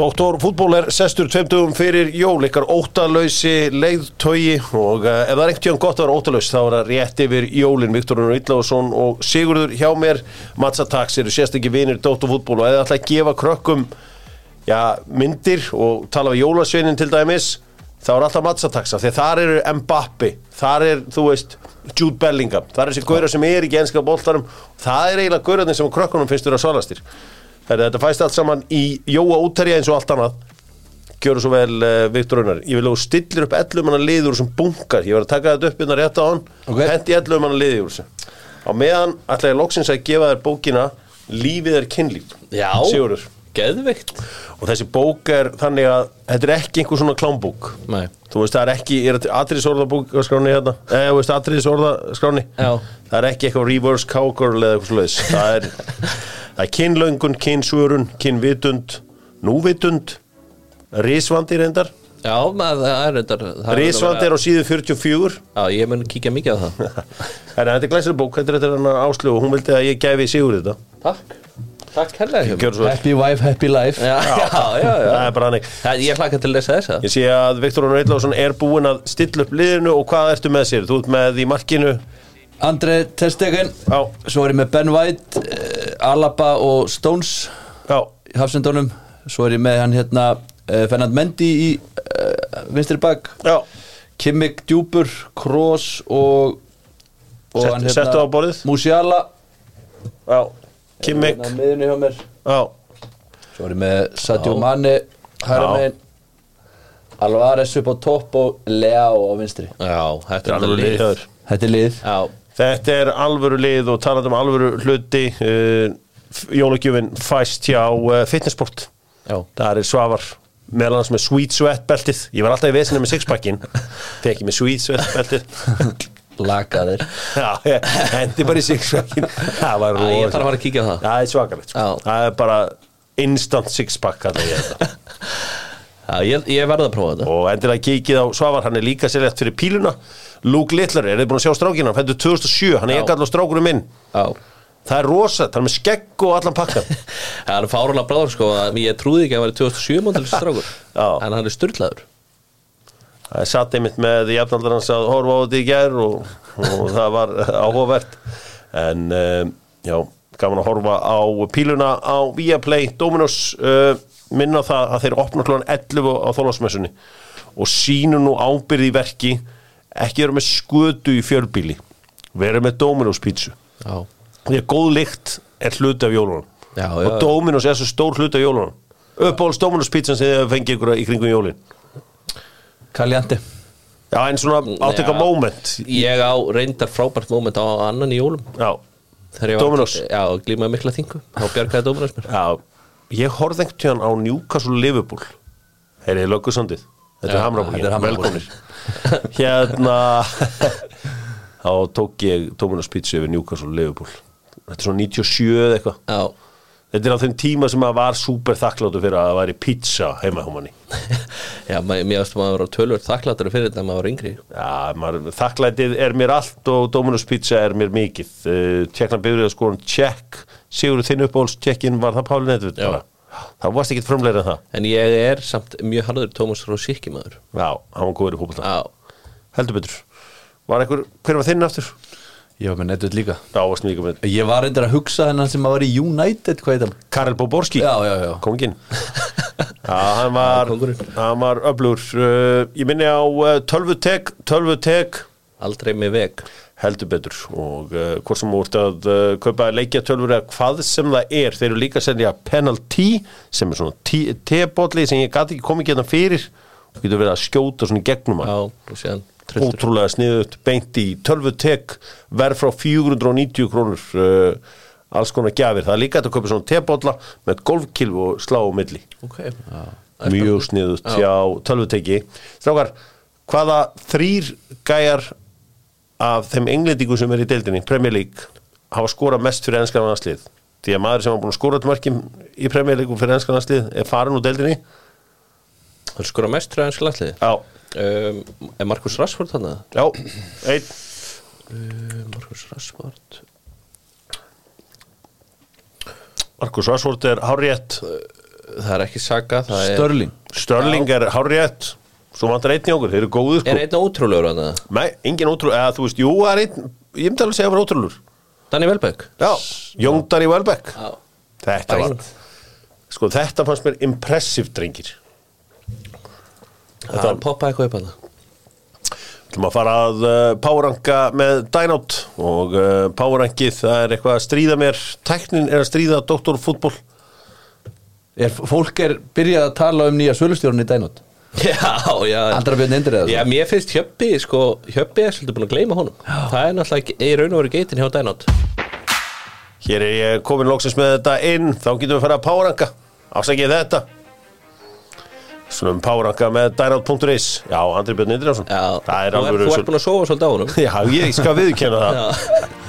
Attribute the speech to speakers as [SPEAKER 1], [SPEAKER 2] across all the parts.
[SPEAKER 1] Doktor fútból er sestur tveimtugum fyrir jól, ykkar óttalösi leiðtögi og uh, ef það er einhvern tíðan gott að vera óttalös þá er það rétt yfir jólin Viktorun Ítláðsson og Sigurður hjá mér Matsa Tax eru sérst ekki vinir Doktor fútból og eða ætla að gefa krökkum já, myndir og tala við jólasveinin til dæmis þá er alltaf Matsa Tax af því að þar eru Mbappi, þar er þú veist Jude Bellingham, þar er þessi gauðra sem er ekki enska boltarum, það er eiginlega gauðraðin sem krökkunum finnst vera svalastir Herri, þetta fæst allt saman í Jóa útterja eins og allt annað. Gjöru svo vel uh, Viktor Unnar. Ég vil að þú stillir upp 11 manna liður sem bunkar. Ég var að taka þetta upp innan rétt á hann.
[SPEAKER 2] Ok.
[SPEAKER 1] Okay. Hendi 11 manna liður úr þessu. Á meðan ætla ég loksins að gefa þér bókina Lífið er kynlíf.
[SPEAKER 2] Já.
[SPEAKER 1] Sigurður.
[SPEAKER 2] Geðvikt
[SPEAKER 1] Og þessi bók er þannig að þetta er ekki einhver svona klámbók.
[SPEAKER 2] Nei
[SPEAKER 1] Þú veist, það er ekki, er þetta atriðisorðabókaskráni hérna? Nei, þú veist, atriðisorðaskráni?
[SPEAKER 2] Já.
[SPEAKER 1] Það er ekki eitthvað reverse cowgirl eða eitthvað slúðis. Það er, það er kynlöngun, kynsvörun, kynvitund, núvitund, risvandi reyndar.
[SPEAKER 2] Já, maður, það er reyndar það er
[SPEAKER 1] Risvandi
[SPEAKER 2] reyndar-
[SPEAKER 1] er á síðu 44.
[SPEAKER 2] Já, ég mun kíkja mikið á það
[SPEAKER 1] En þetta er glæsir bók, þetta er þetta hennar áslug og hún vildi að ég gæfi sigur þetta.
[SPEAKER 2] Takk Takk herrlega
[SPEAKER 1] Gjörðu svo vel.
[SPEAKER 3] Happy wife, happy life
[SPEAKER 2] Já, já, já, já.
[SPEAKER 1] Það er bara hannig.
[SPEAKER 2] Það, Ég hlakka til að lesa þessa
[SPEAKER 1] Ég sé að Viktor Rónar Eitláfsson er búinn að stilla upp liðinu og hvað ertu með sér? Þú ert með í markinu
[SPEAKER 3] Andre Testegen
[SPEAKER 1] Já.
[SPEAKER 3] Svo er ég með Ben White, eh, Alaba og Stones
[SPEAKER 1] Já,
[SPEAKER 3] í hafsendónum Svo er ég með hann hérna eh, Fernand Mendy í uh, vinstri bak
[SPEAKER 1] já.
[SPEAKER 3] Kimmik Djúpur, Kroos og, og hérna,
[SPEAKER 1] Sett- settu á borðið.
[SPEAKER 3] Musiala
[SPEAKER 1] já. Kimmik,
[SPEAKER 3] Hérna á miðjunni hjá mér
[SPEAKER 1] já.
[SPEAKER 3] Svo er ég með Sadio Mane Hæra
[SPEAKER 1] Já.
[SPEAKER 3] megin Alvarez upp á topp og Leao á vinstri
[SPEAKER 2] Já, þetta er
[SPEAKER 1] Alvöru
[SPEAKER 2] alveg
[SPEAKER 1] lið hjá þér.
[SPEAKER 3] Þetta er lið
[SPEAKER 2] Já,
[SPEAKER 1] Þetta er alvöru lið og talað um alvöru hluti uh, Jólagjöfin fæst hjá uh, fitnessport
[SPEAKER 2] já
[SPEAKER 1] Það er svafar meðal hans með sweet sweat beltið Ég var alltaf í vesinu með sixpackin Fekki með sweet sweat beltið
[SPEAKER 3] Lakaðir
[SPEAKER 1] Já, ég Hendi bara í sixpackin Það var
[SPEAKER 2] Æ, Ég þarf að
[SPEAKER 1] rosa
[SPEAKER 2] fara að kíkja á það
[SPEAKER 1] Það er svakalegt sko.
[SPEAKER 2] Já.
[SPEAKER 1] Það er bara instant sixpack kalla ég þetta.
[SPEAKER 2] Já, ég, ég verð að prófa þetta
[SPEAKER 1] og endilega kikið á Svavar, hann er líka sérlegt fyrir píluna Luke Littler, er þið búin að sjá strákina hann fættu 2007, hann er
[SPEAKER 2] Já.
[SPEAKER 1] ekki allar strákurum minn
[SPEAKER 2] Já
[SPEAKER 1] það er rosa, það er með skegg og allan pakkan
[SPEAKER 2] Það er fárulega bráður sko að Ég trúði ekki að hann væri 2007 mótilis strákur
[SPEAKER 1] Já.
[SPEAKER 2] En hann er styrlaður
[SPEAKER 1] Það satt einmitt með jafnaldar hans að horfa á þetta í gær og, og það var áhugavert en um, já, gaman að horfa á píluna á Viaplay Dominos uh, minna á það að þeir opna klón 11 á þólasmessunni og sínu nú ábyrði í verki ekki vera með skötu í fjörbíli vera með Dominos pítsu
[SPEAKER 2] Já,
[SPEAKER 1] því að góð lykt er hluti af jólunum
[SPEAKER 2] Já, já.
[SPEAKER 1] og Dominos er svo stór hluti af jólunum uppáhalds Dominos pítsan sem þið fengið ykkur í kringum jólin
[SPEAKER 3] Kaljandi
[SPEAKER 1] Já, en svona átt eitthvað
[SPEAKER 2] Já.
[SPEAKER 1] moment
[SPEAKER 2] Ég á reyndar frábært móment á annan í jólum
[SPEAKER 1] Já,
[SPEAKER 2] Þegar ég var-
[SPEAKER 1] Dominos.
[SPEAKER 2] Já, glímaði mikla þingu Þá bjargaði Dominos mér
[SPEAKER 1] já Ég horfði einhvern tíðan á Newcastle Liverpool Heyrið, löggu sandið Þetta
[SPEAKER 2] Já,
[SPEAKER 1] er hamrabúl,
[SPEAKER 3] þetta er Hamrabúl.
[SPEAKER 1] velkomnir Hérna Þá tók ég Tóminas pizza yfir Newcastle Liverpool Þetta er svona 97 eða eitthvað
[SPEAKER 2] Já,
[SPEAKER 1] Þetta er á þeim tíma sem maður var super þakkláttu fyrir að það væri pizza heima hjá manni
[SPEAKER 2] já ma- mér veist að maður var tölvöld þakklættur fyrir þetta að maður var yngri
[SPEAKER 1] Já, maður, þakklætið er mér allt og Dominus Pizza er mér mikið uh, Tjekkna byrjuð að skoðum tjekk Sigurður þinn uppáhalds tjekkin var það Páli Nedvud
[SPEAKER 2] Já.
[SPEAKER 1] bara. Það varst ekkit frumleira en það
[SPEAKER 2] En ég er samt mjög harður Tómas Rósikki maður
[SPEAKER 1] Já, hann var góður í fótbolta
[SPEAKER 2] Já,
[SPEAKER 1] Heldur betur Var einhver, hver var þinn aftur?
[SPEAKER 3] Ég var með netut líka
[SPEAKER 1] Já, varst mikið með
[SPEAKER 3] Ég var reyndar að hugsa hennan sem að var í United Hvað heit hann?
[SPEAKER 1] Karel Boborski
[SPEAKER 3] Já, já, já
[SPEAKER 1] Kongin Já, hann var,
[SPEAKER 2] Já, kóngurinn.
[SPEAKER 1] hann var öflugur uh, Ég minni á uh, tölvutek, tölvutek
[SPEAKER 2] aldrei með veg
[SPEAKER 1] heldur betur og uh, hvort sem úr að uh, kaupa leikjatölfur eða hvað sem það er, þeir eru líka að selja penalty sem er svona tebólli sem ég gæti ekki komið geta fyrir og getur verið að skjóta svona í gegnum hann
[SPEAKER 2] Já, og síðan trilltur
[SPEAKER 1] ótrúlega sniðut, beint í tölvutek verð frá 490 krónur uh, alls konar gjafir það er líka hægt að kaupa svona tebólla með golfkilv og slá á milli
[SPEAKER 2] Ok, já
[SPEAKER 1] mjög sniðut hjá tölvuteki Strákar, hvaða þrýr gæjar af þeim englendingum sem er í deildinni Premier League hafa skorað mest fyrir enskan landslið því að maður sem hafa búin að skora til mörgjum í Premier League og fyrir enskan landslið er farin úr deildinni
[SPEAKER 2] Það skora mest frá ennsku landliði
[SPEAKER 1] Já,
[SPEAKER 2] um, Er Markus Rassford þannig?
[SPEAKER 1] já, einn
[SPEAKER 2] Markus Rassford
[SPEAKER 1] Markus Vassvort er hárétt
[SPEAKER 2] það er ekki Saka það er,
[SPEAKER 3] Störling
[SPEAKER 1] Störling er hárjætt Svo vantar einn í okkur, þeir eru góðu sko
[SPEAKER 2] er einn ótrúlegur hann það
[SPEAKER 1] Nei, engin ótrú, eða þú veist, jú, það er einn Ég myndi alveg segja að vera ótrúlur
[SPEAKER 2] Danny Welbeck
[SPEAKER 1] Já, Jóndar í Welbeck
[SPEAKER 2] Já.
[SPEAKER 1] Þetta var Sko, þetta fannst mér impressive drengir
[SPEAKER 2] það poppaði eitthvað upp hann
[SPEAKER 1] ætlum að fara að uh, powerranka með Dynout og uh, powerrankið það er eitthvað að stríða mér tæknin er að stríða doktorfútból
[SPEAKER 3] er, Fólk er byrjað að tala um nýja sölustjórun í dænót
[SPEAKER 2] já, já
[SPEAKER 3] Andra Björn Indrið
[SPEAKER 2] Já, mér finnst Hjöppi, sko, Hjöppi er svolítið búin að gleyma honum Það er náttúrulega ekki- í raun og veru geitin hjá Dænót
[SPEAKER 1] hér er ég komin loksins með þetta inn þá getum við að fara að powerranka afsakið þetta svona um powerranka með Dynout.is já, Andri Björn Indriðarsson
[SPEAKER 2] Já,
[SPEAKER 1] það er
[SPEAKER 2] Þú
[SPEAKER 1] alveg
[SPEAKER 2] Þú ert búin að sofa svolítið á honum
[SPEAKER 1] Já, ég skal viðkenna það
[SPEAKER 2] Já,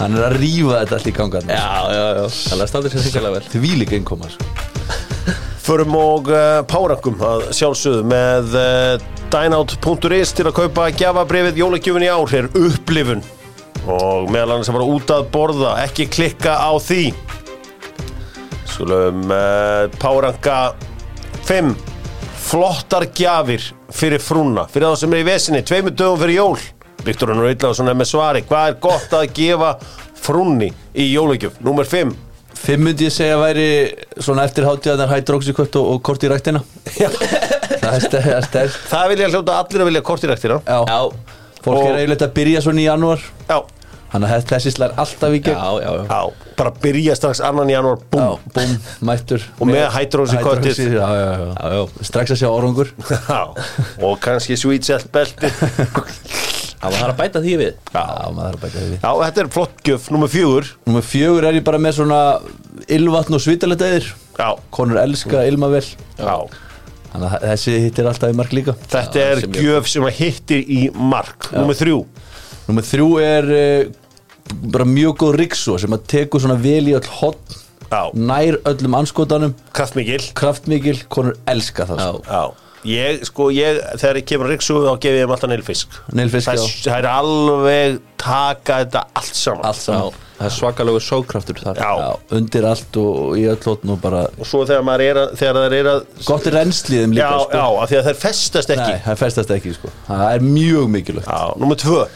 [SPEAKER 3] Hann er að rífa þetta allt í gangan
[SPEAKER 2] já, já, já Þannig að standa sér þingalega vel
[SPEAKER 3] Því líka innkoma sko.
[SPEAKER 1] Förum og uh, párangum að sjálfsögðu með uh, dynout.is til að kaupa gjafabrifið jólagjöfin í ár er upplifun og meðal annars að fara út að borða, ekki klikka á því Skulum uh, páranga 5 flottar gjafir fyrir frúna, fyrir þá sem er í vesinni tveimur dögum fyrir jól Viktor Unnar Ítlaðsson er með svari, hvað er gott að gefa frúnni í jólagjöf? Númer 5
[SPEAKER 3] Fimm myndi ég segja væri svona eftir hátíðanar hydroxyköpt og, og kort í ræktina Það er stærkt stær.
[SPEAKER 1] Það vilja hljóta allir að vilja hérna. kortiræktina
[SPEAKER 3] Já.
[SPEAKER 2] Já,
[SPEAKER 3] Fólk
[SPEAKER 1] Og-
[SPEAKER 3] er eiginlega að byrja svona í janúar
[SPEAKER 1] Já,
[SPEAKER 3] Þannig að þessi slær alltaf í
[SPEAKER 2] já,
[SPEAKER 3] gegn
[SPEAKER 2] já, já
[SPEAKER 1] Já, bara byrja strax annan janúar, búm
[SPEAKER 3] Já, búm, mættur
[SPEAKER 1] Og með hydroxyköttið.
[SPEAKER 3] Hydroxy, já, já, já.
[SPEAKER 2] Já, já.
[SPEAKER 3] Strax að sjá orungur
[SPEAKER 1] Já, og kannski sweet selt belti
[SPEAKER 2] Já, maður þarf að bæta því við
[SPEAKER 3] Já, maður þarf að bæta því við.
[SPEAKER 1] Já, þetta er flott gjöf, nummer fjögur
[SPEAKER 3] Númer fjögur er ég bara með svona ylvatn og svitalegt eðir
[SPEAKER 1] Já,
[SPEAKER 3] Konur elska ilma vel
[SPEAKER 1] já
[SPEAKER 3] Þannig að þessi hittir alltaf í mark líka
[SPEAKER 1] Þetta
[SPEAKER 2] Já,
[SPEAKER 1] er
[SPEAKER 2] sem ég-
[SPEAKER 1] gjöf sem að hittir í mark Númer þrjú
[SPEAKER 3] Númer þrjú er uh, bara mjög góð riksu sem að tekur svona vel í öll hotn
[SPEAKER 1] Já.
[SPEAKER 3] nær öllum anskotanum
[SPEAKER 1] Kraftmikil
[SPEAKER 3] kraftmikil, konur elska það
[SPEAKER 2] Já,
[SPEAKER 3] sko.
[SPEAKER 1] Já, ég, sko, ég, þegar ég kemur ríksu þá gef ég þeim alltaf neilfisk
[SPEAKER 3] Neilfisk,
[SPEAKER 1] það,
[SPEAKER 3] já.
[SPEAKER 1] það er alveg taka þetta allt saman
[SPEAKER 3] allt
[SPEAKER 2] já,
[SPEAKER 3] saman
[SPEAKER 2] það er svakalegu sókraftur þar
[SPEAKER 1] Já.
[SPEAKER 3] undir allt og í öll hotn og bara
[SPEAKER 1] Og svo þegar maður er að, þegar það er að
[SPEAKER 3] gott
[SPEAKER 1] Já,
[SPEAKER 3] reynsliðum líka
[SPEAKER 1] já,
[SPEAKER 3] sko.
[SPEAKER 1] af því að þær festast ekki
[SPEAKER 3] Nei, það festast ekki sko. það er mjög mikilvægt
[SPEAKER 1] Já, númer tvö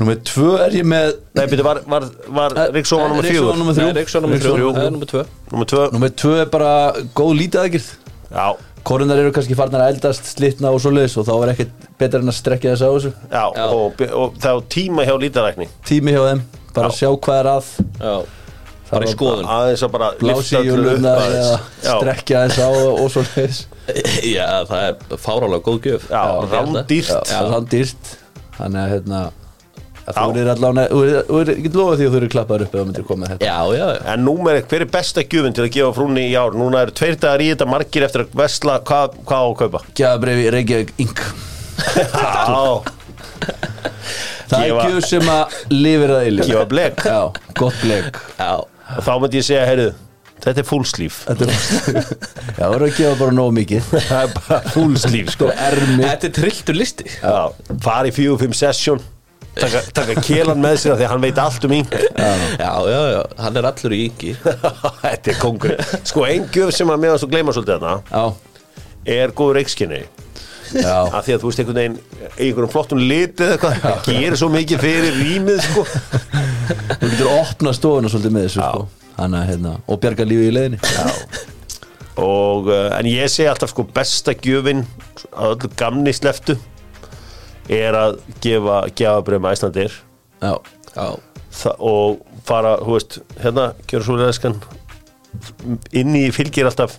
[SPEAKER 3] Númer tvö er ég með
[SPEAKER 1] Nei, byrju, var, var, var ríksóa
[SPEAKER 3] Nei,
[SPEAKER 1] númer
[SPEAKER 3] ryksuga
[SPEAKER 1] fjögur
[SPEAKER 3] númer þrjú.
[SPEAKER 2] Nei, Ríksson nummer
[SPEAKER 3] Ryksuga
[SPEAKER 2] þrjú,
[SPEAKER 3] þrjú.
[SPEAKER 2] það er nummer tvö
[SPEAKER 1] Númer tvö
[SPEAKER 3] Númer tvö er bara góð lítið aðgjörð
[SPEAKER 1] Já,
[SPEAKER 3] Korunar eru kannski farnar að eldast, slitna og svoleiðis og þá er ekkert betra en að strekja þess að þessu
[SPEAKER 1] já,
[SPEAKER 2] Já.
[SPEAKER 1] Og, og þá tíma hjá lítarækni
[SPEAKER 3] Tími hjá þeim, bara
[SPEAKER 1] Já.
[SPEAKER 3] sjá hvað er að
[SPEAKER 2] Já, bara í
[SPEAKER 3] var-
[SPEAKER 2] skoðun
[SPEAKER 1] aðeins að bara
[SPEAKER 3] blási
[SPEAKER 1] lyfta
[SPEAKER 3] í
[SPEAKER 1] öllu
[SPEAKER 3] júluna
[SPEAKER 1] upp aðeins.
[SPEAKER 3] eða
[SPEAKER 1] já,
[SPEAKER 3] strekja þess á og svo leiðis
[SPEAKER 2] Já, það er fárálega góð gjöf
[SPEAKER 1] já, hérna.
[SPEAKER 2] Ég held
[SPEAKER 1] rándýrt
[SPEAKER 2] það.
[SPEAKER 3] það er hann dýrt þannig að hérna að
[SPEAKER 1] Já.
[SPEAKER 3] þú eru allan að, þú eru ekki lofa því að þú eru klappaður upp eða myndir koma með þetta
[SPEAKER 2] Já, já, já
[SPEAKER 1] en númer eitt, hver er besta gjöfin til að gefa frúnni í ár núna eru tveir dagar í þetta margir eftir að vesla hvað, hvað á að kaupa
[SPEAKER 3] Gjafabreyfi Reykjavík Inc.
[SPEAKER 1] já,
[SPEAKER 3] Það er
[SPEAKER 1] Gefa-
[SPEAKER 3] gjöf sem að lifir það í líf
[SPEAKER 1] Gefa blek.
[SPEAKER 3] Já, gott blek
[SPEAKER 2] Já,
[SPEAKER 1] og þá myndi ég segja, heyrðu þetta er fúlslíf
[SPEAKER 3] Þetta er Já, það eru að gefa bara nóg mikið
[SPEAKER 1] það er bara fúlslíf sko.
[SPEAKER 3] Sko ermi
[SPEAKER 2] þetta er trilltur listi
[SPEAKER 1] já, fari í fjögur fimm sesjón taka, taka kélan með sér af því að hann veit allt um yng
[SPEAKER 2] Já, já, já, hann er allur í yngi
[SPEAKER 1] þetta er kongur sko ein gjöf sem að meðast og gleyma svolítið þarna
[SPEAKER 3] Já,
[SPEAKER 1] er góður reikskinni
[SPEAKER 3] já
[SPEAKER 1] að því að þú veist einhvern veginn í einhverjum flottum lit eða eitthvað það gerir svo mikið fyrir rýmið sko
[SPEAKER 3] Þú getur að opna stofuna svolítið með þessu
[SPEAKER 1] Já.
[SPEAKER 3] sko Þannig að hérna, og bjarga lífi í leiðinni
[SPEAKER 1] og, uh, en ég segi alltaf sko besta gjöfin að öllu gamni sleftu er að gefa gefabrið með Æslandir
[SPEAKER 3] Já,
[SPEAKER 2] Já,
[SPEAKER 1] Þa, og fara, þú veist, hérna gjör svo leðskan inn í fylgir alltaf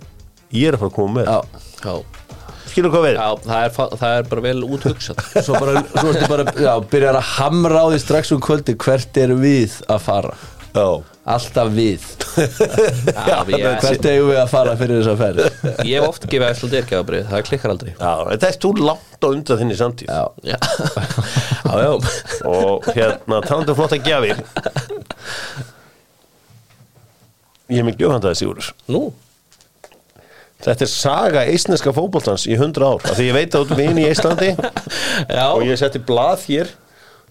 [SPEAKER 1] ég er að fara að koma með,
[SPEAKER 3] já
[SPEAKER 2] já,
[SPEAKER 1] skilur hvað við
[SPEAKER 2] já það, er, fa- það er bara vel úthugsað
[SPEAKER 3] Svo bara, svo ertu bara, já, byrjar að hamra á því strax um kvöldi Hvert er við að fara?
[SPEAKER 1] já,
[SPEAKER 3] Alltaf við
[SPEAKER 2] Já, ég,
[SPEAKER 3] Hvert eigum við að fara fyrir þessa ferð?
[SPEAKER 2] ég hef oft gefið æslandir gefabrið, það klikkar aldrei
[SPEAKER 1] já, en þetta er þú langt á undan þinni samtíð
[SPEAKER 3] Já,
[SPEAKER 2] Já, já, já
[SPEAKER 1] og hérna, talandu flotta gjafir ég er með gjöfandaði Sigurður
[SPEAKER 2] Nú,
[SPEAKER 1] Þetta er saga eisneska fótboltans í 100 ár af því ég veit að þú vinn í Íslandi
[SPEAKER 2] já,
[SPEAKER 1] og ég setti blað hér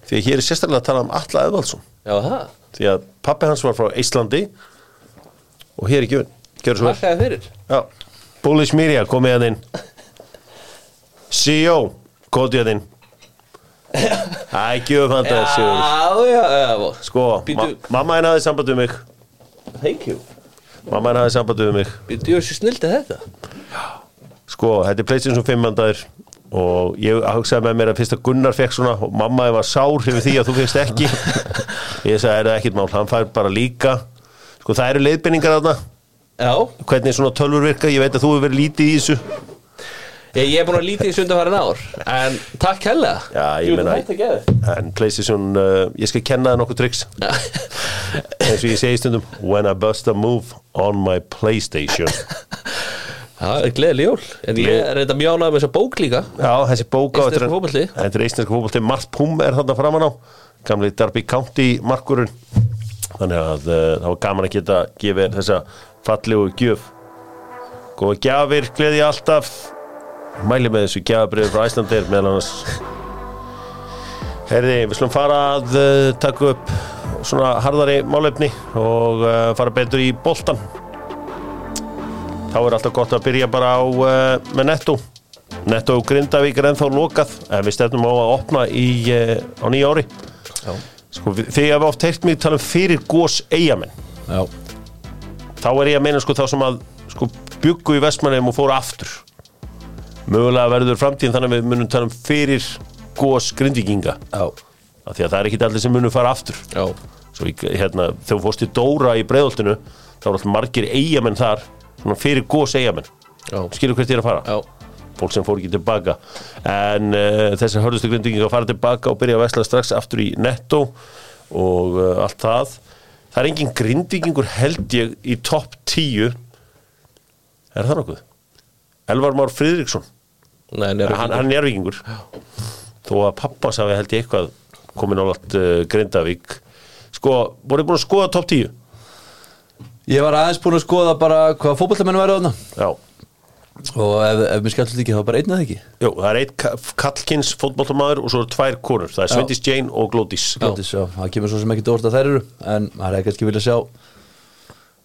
[SPEAKER 1] því að hér er sérstaklega að tala um Alla Eðvaldsson
[SPEAKER 2] já, það
[SPEAKER 1] því að pappi hans var frá Íslandi og hér er gjöfin Gjörðu svo vel.
[SPEAKER 2] Takkaði fyrir
[SPEAKER 1] Já. Bullish Mirja, komið að inn CEO, kótið að inn Æ, gjöfum hann það Sigur
[SPEAKER 2] Já, já, já
[SPEAKER 1] Sko, ma
[SPEAKER 2] Býtu-
[SPEAKER 1] mamma henni hafði samband við mig
[SPEAKER 2] Thank you
[SPEAKER 1] Mamma henni hafði samband við mig
[SPEAKER 2] Býttu ég þessu snildi þetta
[SPEAKER 1] Sko, þetta er Playstation 5 mandaður og ég hugsaði með mér að fyrst að Gunnar fekk svona og mamma var sár hefur því að þú fyrst ekki ég sagði, er það ekkert mál, hann fær bara líka sko, það eru leiðbendingar þarna
[SPEAKER 2] Já,
[SPEAKER 1] hvernig svona tölvur virka, ég veit að þú hefur verið lítið í þessu
[SPEAKER 2] ég, ég er búin að lítið í sundarfærin ár En takk hella
[SPEAKER 1] Já, ég meina-
[SPEAKER 2] Þetta geði
[SPEAKER 1] en Playstation, uh, ég skal kenna það nokkuð tricks eins og ég segi stundum when I bust a move on my Playstation
[SPEAKER 2] Já, gleðileg jól En ég er reynda mjánað með þessa bók líka
[SPEAKER 1] já, þessi bóka
[SPEAKER 2] Íslenska fótbolti.
[SPEAKER 1] þetta er íslenska fókbalti, Mart Pum er þarna framan á gamli Darby County markurinn þannig að uh, það var gaman að geta gefið þessa fallegu gjöf góða gjafir, gleði alltaf mæli með þessu gjafabriður frá Æslandir meðal annars Herði, við slum fara að uh, taka upp svona harðari málefni og uh, fara betur í boltan þá er alltaf gott að byrja bara á uh, með Netto Netto Grindavík er ennþá lokað en við stefnum á að opna í, uh, á nýja ári
[SPEAKER 2] Já.
[SPEAKER 1] sko, við- þið hafa oft heyrt mig tala um fyrir gós eigamenn
[SPEAKER 3] Já,
[SPEAKER 1] þá er ég að meina sko þá sem að sko, byggu í vestmannum og fóru aftur mögulega verður framtíðin þannig að við munum tala um fyrir gos grindvíkinga
[SPEAKER 3] já,
[SPEAKER 1] af því að það er ekkit allir sem munum fara aftur
[SPEAKER 2] Já
[SPEAKER 1] Svo, í- hérna, þegar þú fórst í Dóra í breiðoltinu þá eru alltaf margir eigamenn þar svona fyrir gos eigamenn
[SPEAKER 2] Já,
[SPEAKER 1] skilur hvert ég er að fara,
[SPEAKER 2] já.
[SPEAKER 1] fólk sem fór ekki tilbaka en uh, þessar hörðustu grindvíkinga fara tilbaka og byrja að vesla strax aftur í netto og uh, allt það það er engin grindvíkingur held ég í topp 10 Er það nokkuð? Elvar Már Friðriksson
[SPEAKER 2] Nei, hann er
[SPEAKER 1] hann, hann er vikingur Þó að pappa sagði held ég eitthvað komin álægt uh, Grindavík Sko, voruð búin að skoða topp 10?
[SPEAKER 3] ég var aðeins búin að skoða bara hvað fótballtamennu væri á þarna
[SPEAKER 1] Já
[SPEAKER 3] og ef, ef mér skellur ekki þá bara einnað ekki
[SPEAKER 1] Jú, það er eitt ka- kallkins fótboltamaður og svo eru tvær konur Það er
[SPEAKER 3] Já.
[SPEAKER 1] Svendis Jane og Glódís
[SPEAKER 3] Gjöndis, já, það kemur svo sem ekki dórta þær eru en maður hefði kannski viljað sjá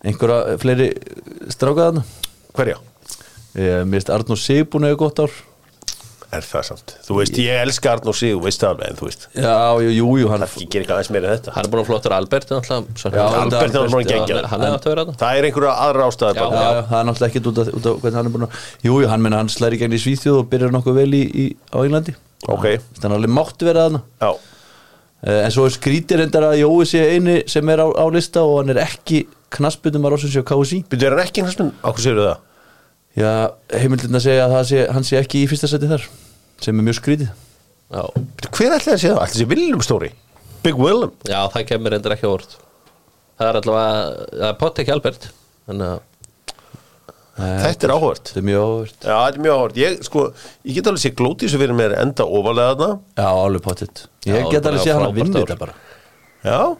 [SPEAKER 3] einhverja fleiri stráka þarna Eh,
[SPEAKER 1] Hverja?
[SPEAKER 3] Ég mist Arnur Sigbún hefur gott ár
[SPEAKER 1] Er það samt? Þú veist, ég elska Arnór Sig, veist það alveg, en þú veist
[SPEAKER 3] Já, jú, jú, jú, hann
[SPEAKER 1] Ég ger ekki aðeins meira en þetta
[SPEAKER 2] Hann er búin að flottur Albert náttúrulega, svo-
[SPEAKER 3] Já,
[SPEAKER 1] Albert er náttúrulega
[SPEAKER 2] já,
[SPEAKER 1] geggjaður.
[SPEAKER 2] Hann er hérna. að töra þetta
[SPEAKER 1] Það er einhverja aðra ástæður
[SPEAKER 2] Já.
[SPEAKER 1] bara.
[SPEAKER 3] Já, já, það er náttúrulega ekkert út af, út af hvernig hann er búin að Jú, jú, hann menna hann slæri gegn í Svíþjóð og byrjar nokkuð vel í, í, á Englandi
[SPEAKER 1] Ok,
[SPEAKER 3] Þannig að alveg mátti vera þarna
[SPEAKER 1] já,
[SPEAKER 3] Eh, En svo er skrítir endar að Jói sé eini sem er á, á lista og hann er ekki knassbundum að rásin sé á KSI
[SPEAKER 1] byrjuðu er hann ekki hans minn? Akkur séu það?
[SPEAKER 3] Já, heimildin að segja að það sé, hann sé ekki í fyrsta seti þar sem er mjög skrítið
[SPEAKER 2] Já,
[SPEAKER 1] Bíddu, Hver ætlaði að sé það? Ætlaði að sé Willem Stóri Big Willem
[SPEAKER 2] já það kemur endur ekki á orð Það er allavega, það er pott ekki Albert Þannig að
[SPEAKER 1] Þetta er áhvert
[SPEAKER 3] Þetta er mjög áhvert
[SPEAKER 1] Já, þetta er mjög áhvert Ég, sko, ég get alveg sé glótið sem fyrir mér enda ofalega þarna
[SPEAKER 3] Já, alveg pottitt Ég
[SPEAKER 2] Já,
[SPEAKER 3] get
[SPEAKER 2] bara
[SPEAKER 3] alveg sé hann að
[SPEAKER 2] frábært
[SPEAKER 3] vinna
[SPEAKER 2] ár.
[SPEAKER 3] þetta bara
[SPEAKER 1] Já,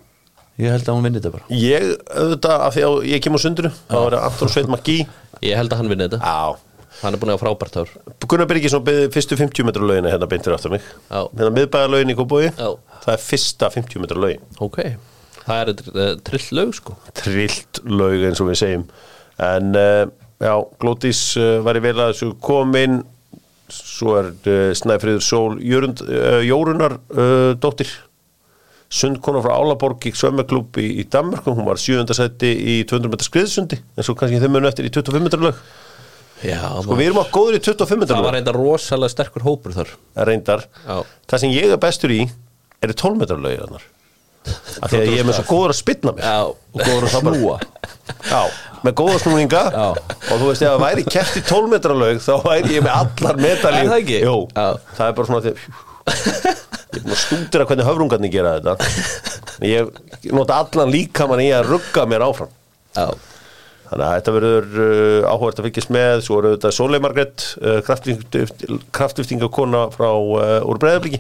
[SPEAKER 3] Ég held að hún vinni þetta bara
[SPEAKER 1] ég, auðvitað, af því að ég kem á sundru þá er það Anton Sveit Magí
[SPEAKER 2] ég held að hann vinni þetta
[SPEAKER 1] Já
[SPEAKER 2] Hann er búin að hafa frábært ár
[SPEAKER 1] Gunnar Byrgisson beðið fyrstu 50 metra lögina hérna beintir aftur mig
[SPEAKER 2] Já.
[SPEAKER 1] Hérna miðbæðarlögin í Kópói
[SPEAKER 2] Já.
[SPEAKER 1] Það er fyrsta 50 metra lögin
[SPEAKER 2] Ok Það er uh, trill lög sko
[SPEAKER 1] trillt laug eins og við segjum en uh, já, Glótis uh, var í vel að þessu komin svo er uh, Snæfriður Sól Jörund, uh, Jórunar uh, dóttir sundkona frá Álaborg í svömmaklúb í, í Danmark hún var sjöundasætti í 200 metra skriðsundi en svo kannski þeim munu eftir í 25 metra lög
[SPEAKER 2] Já,
[SPEAKER 1] og við erum á góður í 25 metra
[SPEAKER 2] Sko, Það var
[SPEAKER 1] lög
[SPEAKER 2] reynda rosalega sterkur hópur þar
[SPEAKER 1] reyndar,
[SPEAKER 2] Já.
[SPEAKER 1] það sem ég er bestur í eru 12 metra lögir annar af því að ég er með svo góður að spilna mig
[SPEAKER 2] Já,
[SPEAKER 1] og góður að snúa Já, með góða snúninga
[SPEAKER 3] Já.
[SPEAKER 1] og þú veist, ef það væri kæft í 12 metra laug þá væri ég með allar metalíu
[SPEAKER 2] Er það ekki?
[SPEAKER 1] Jó,
[SPEAKER 2] Já.
[SPEAKER 1] það er bara svona því ég er búin að stúdira hvernig höfrungarnir gera þetta En ég nota allan líkamann í að rugga mér áfram
[SPEAKER 2] já,
[SPEAKER 1] Þannig að þetta verður uh, áhugavert að fylgjast með, svo eru þetta Sólei Margrét, uh, kraftliftingakona frá uh, úr Breiðabliki.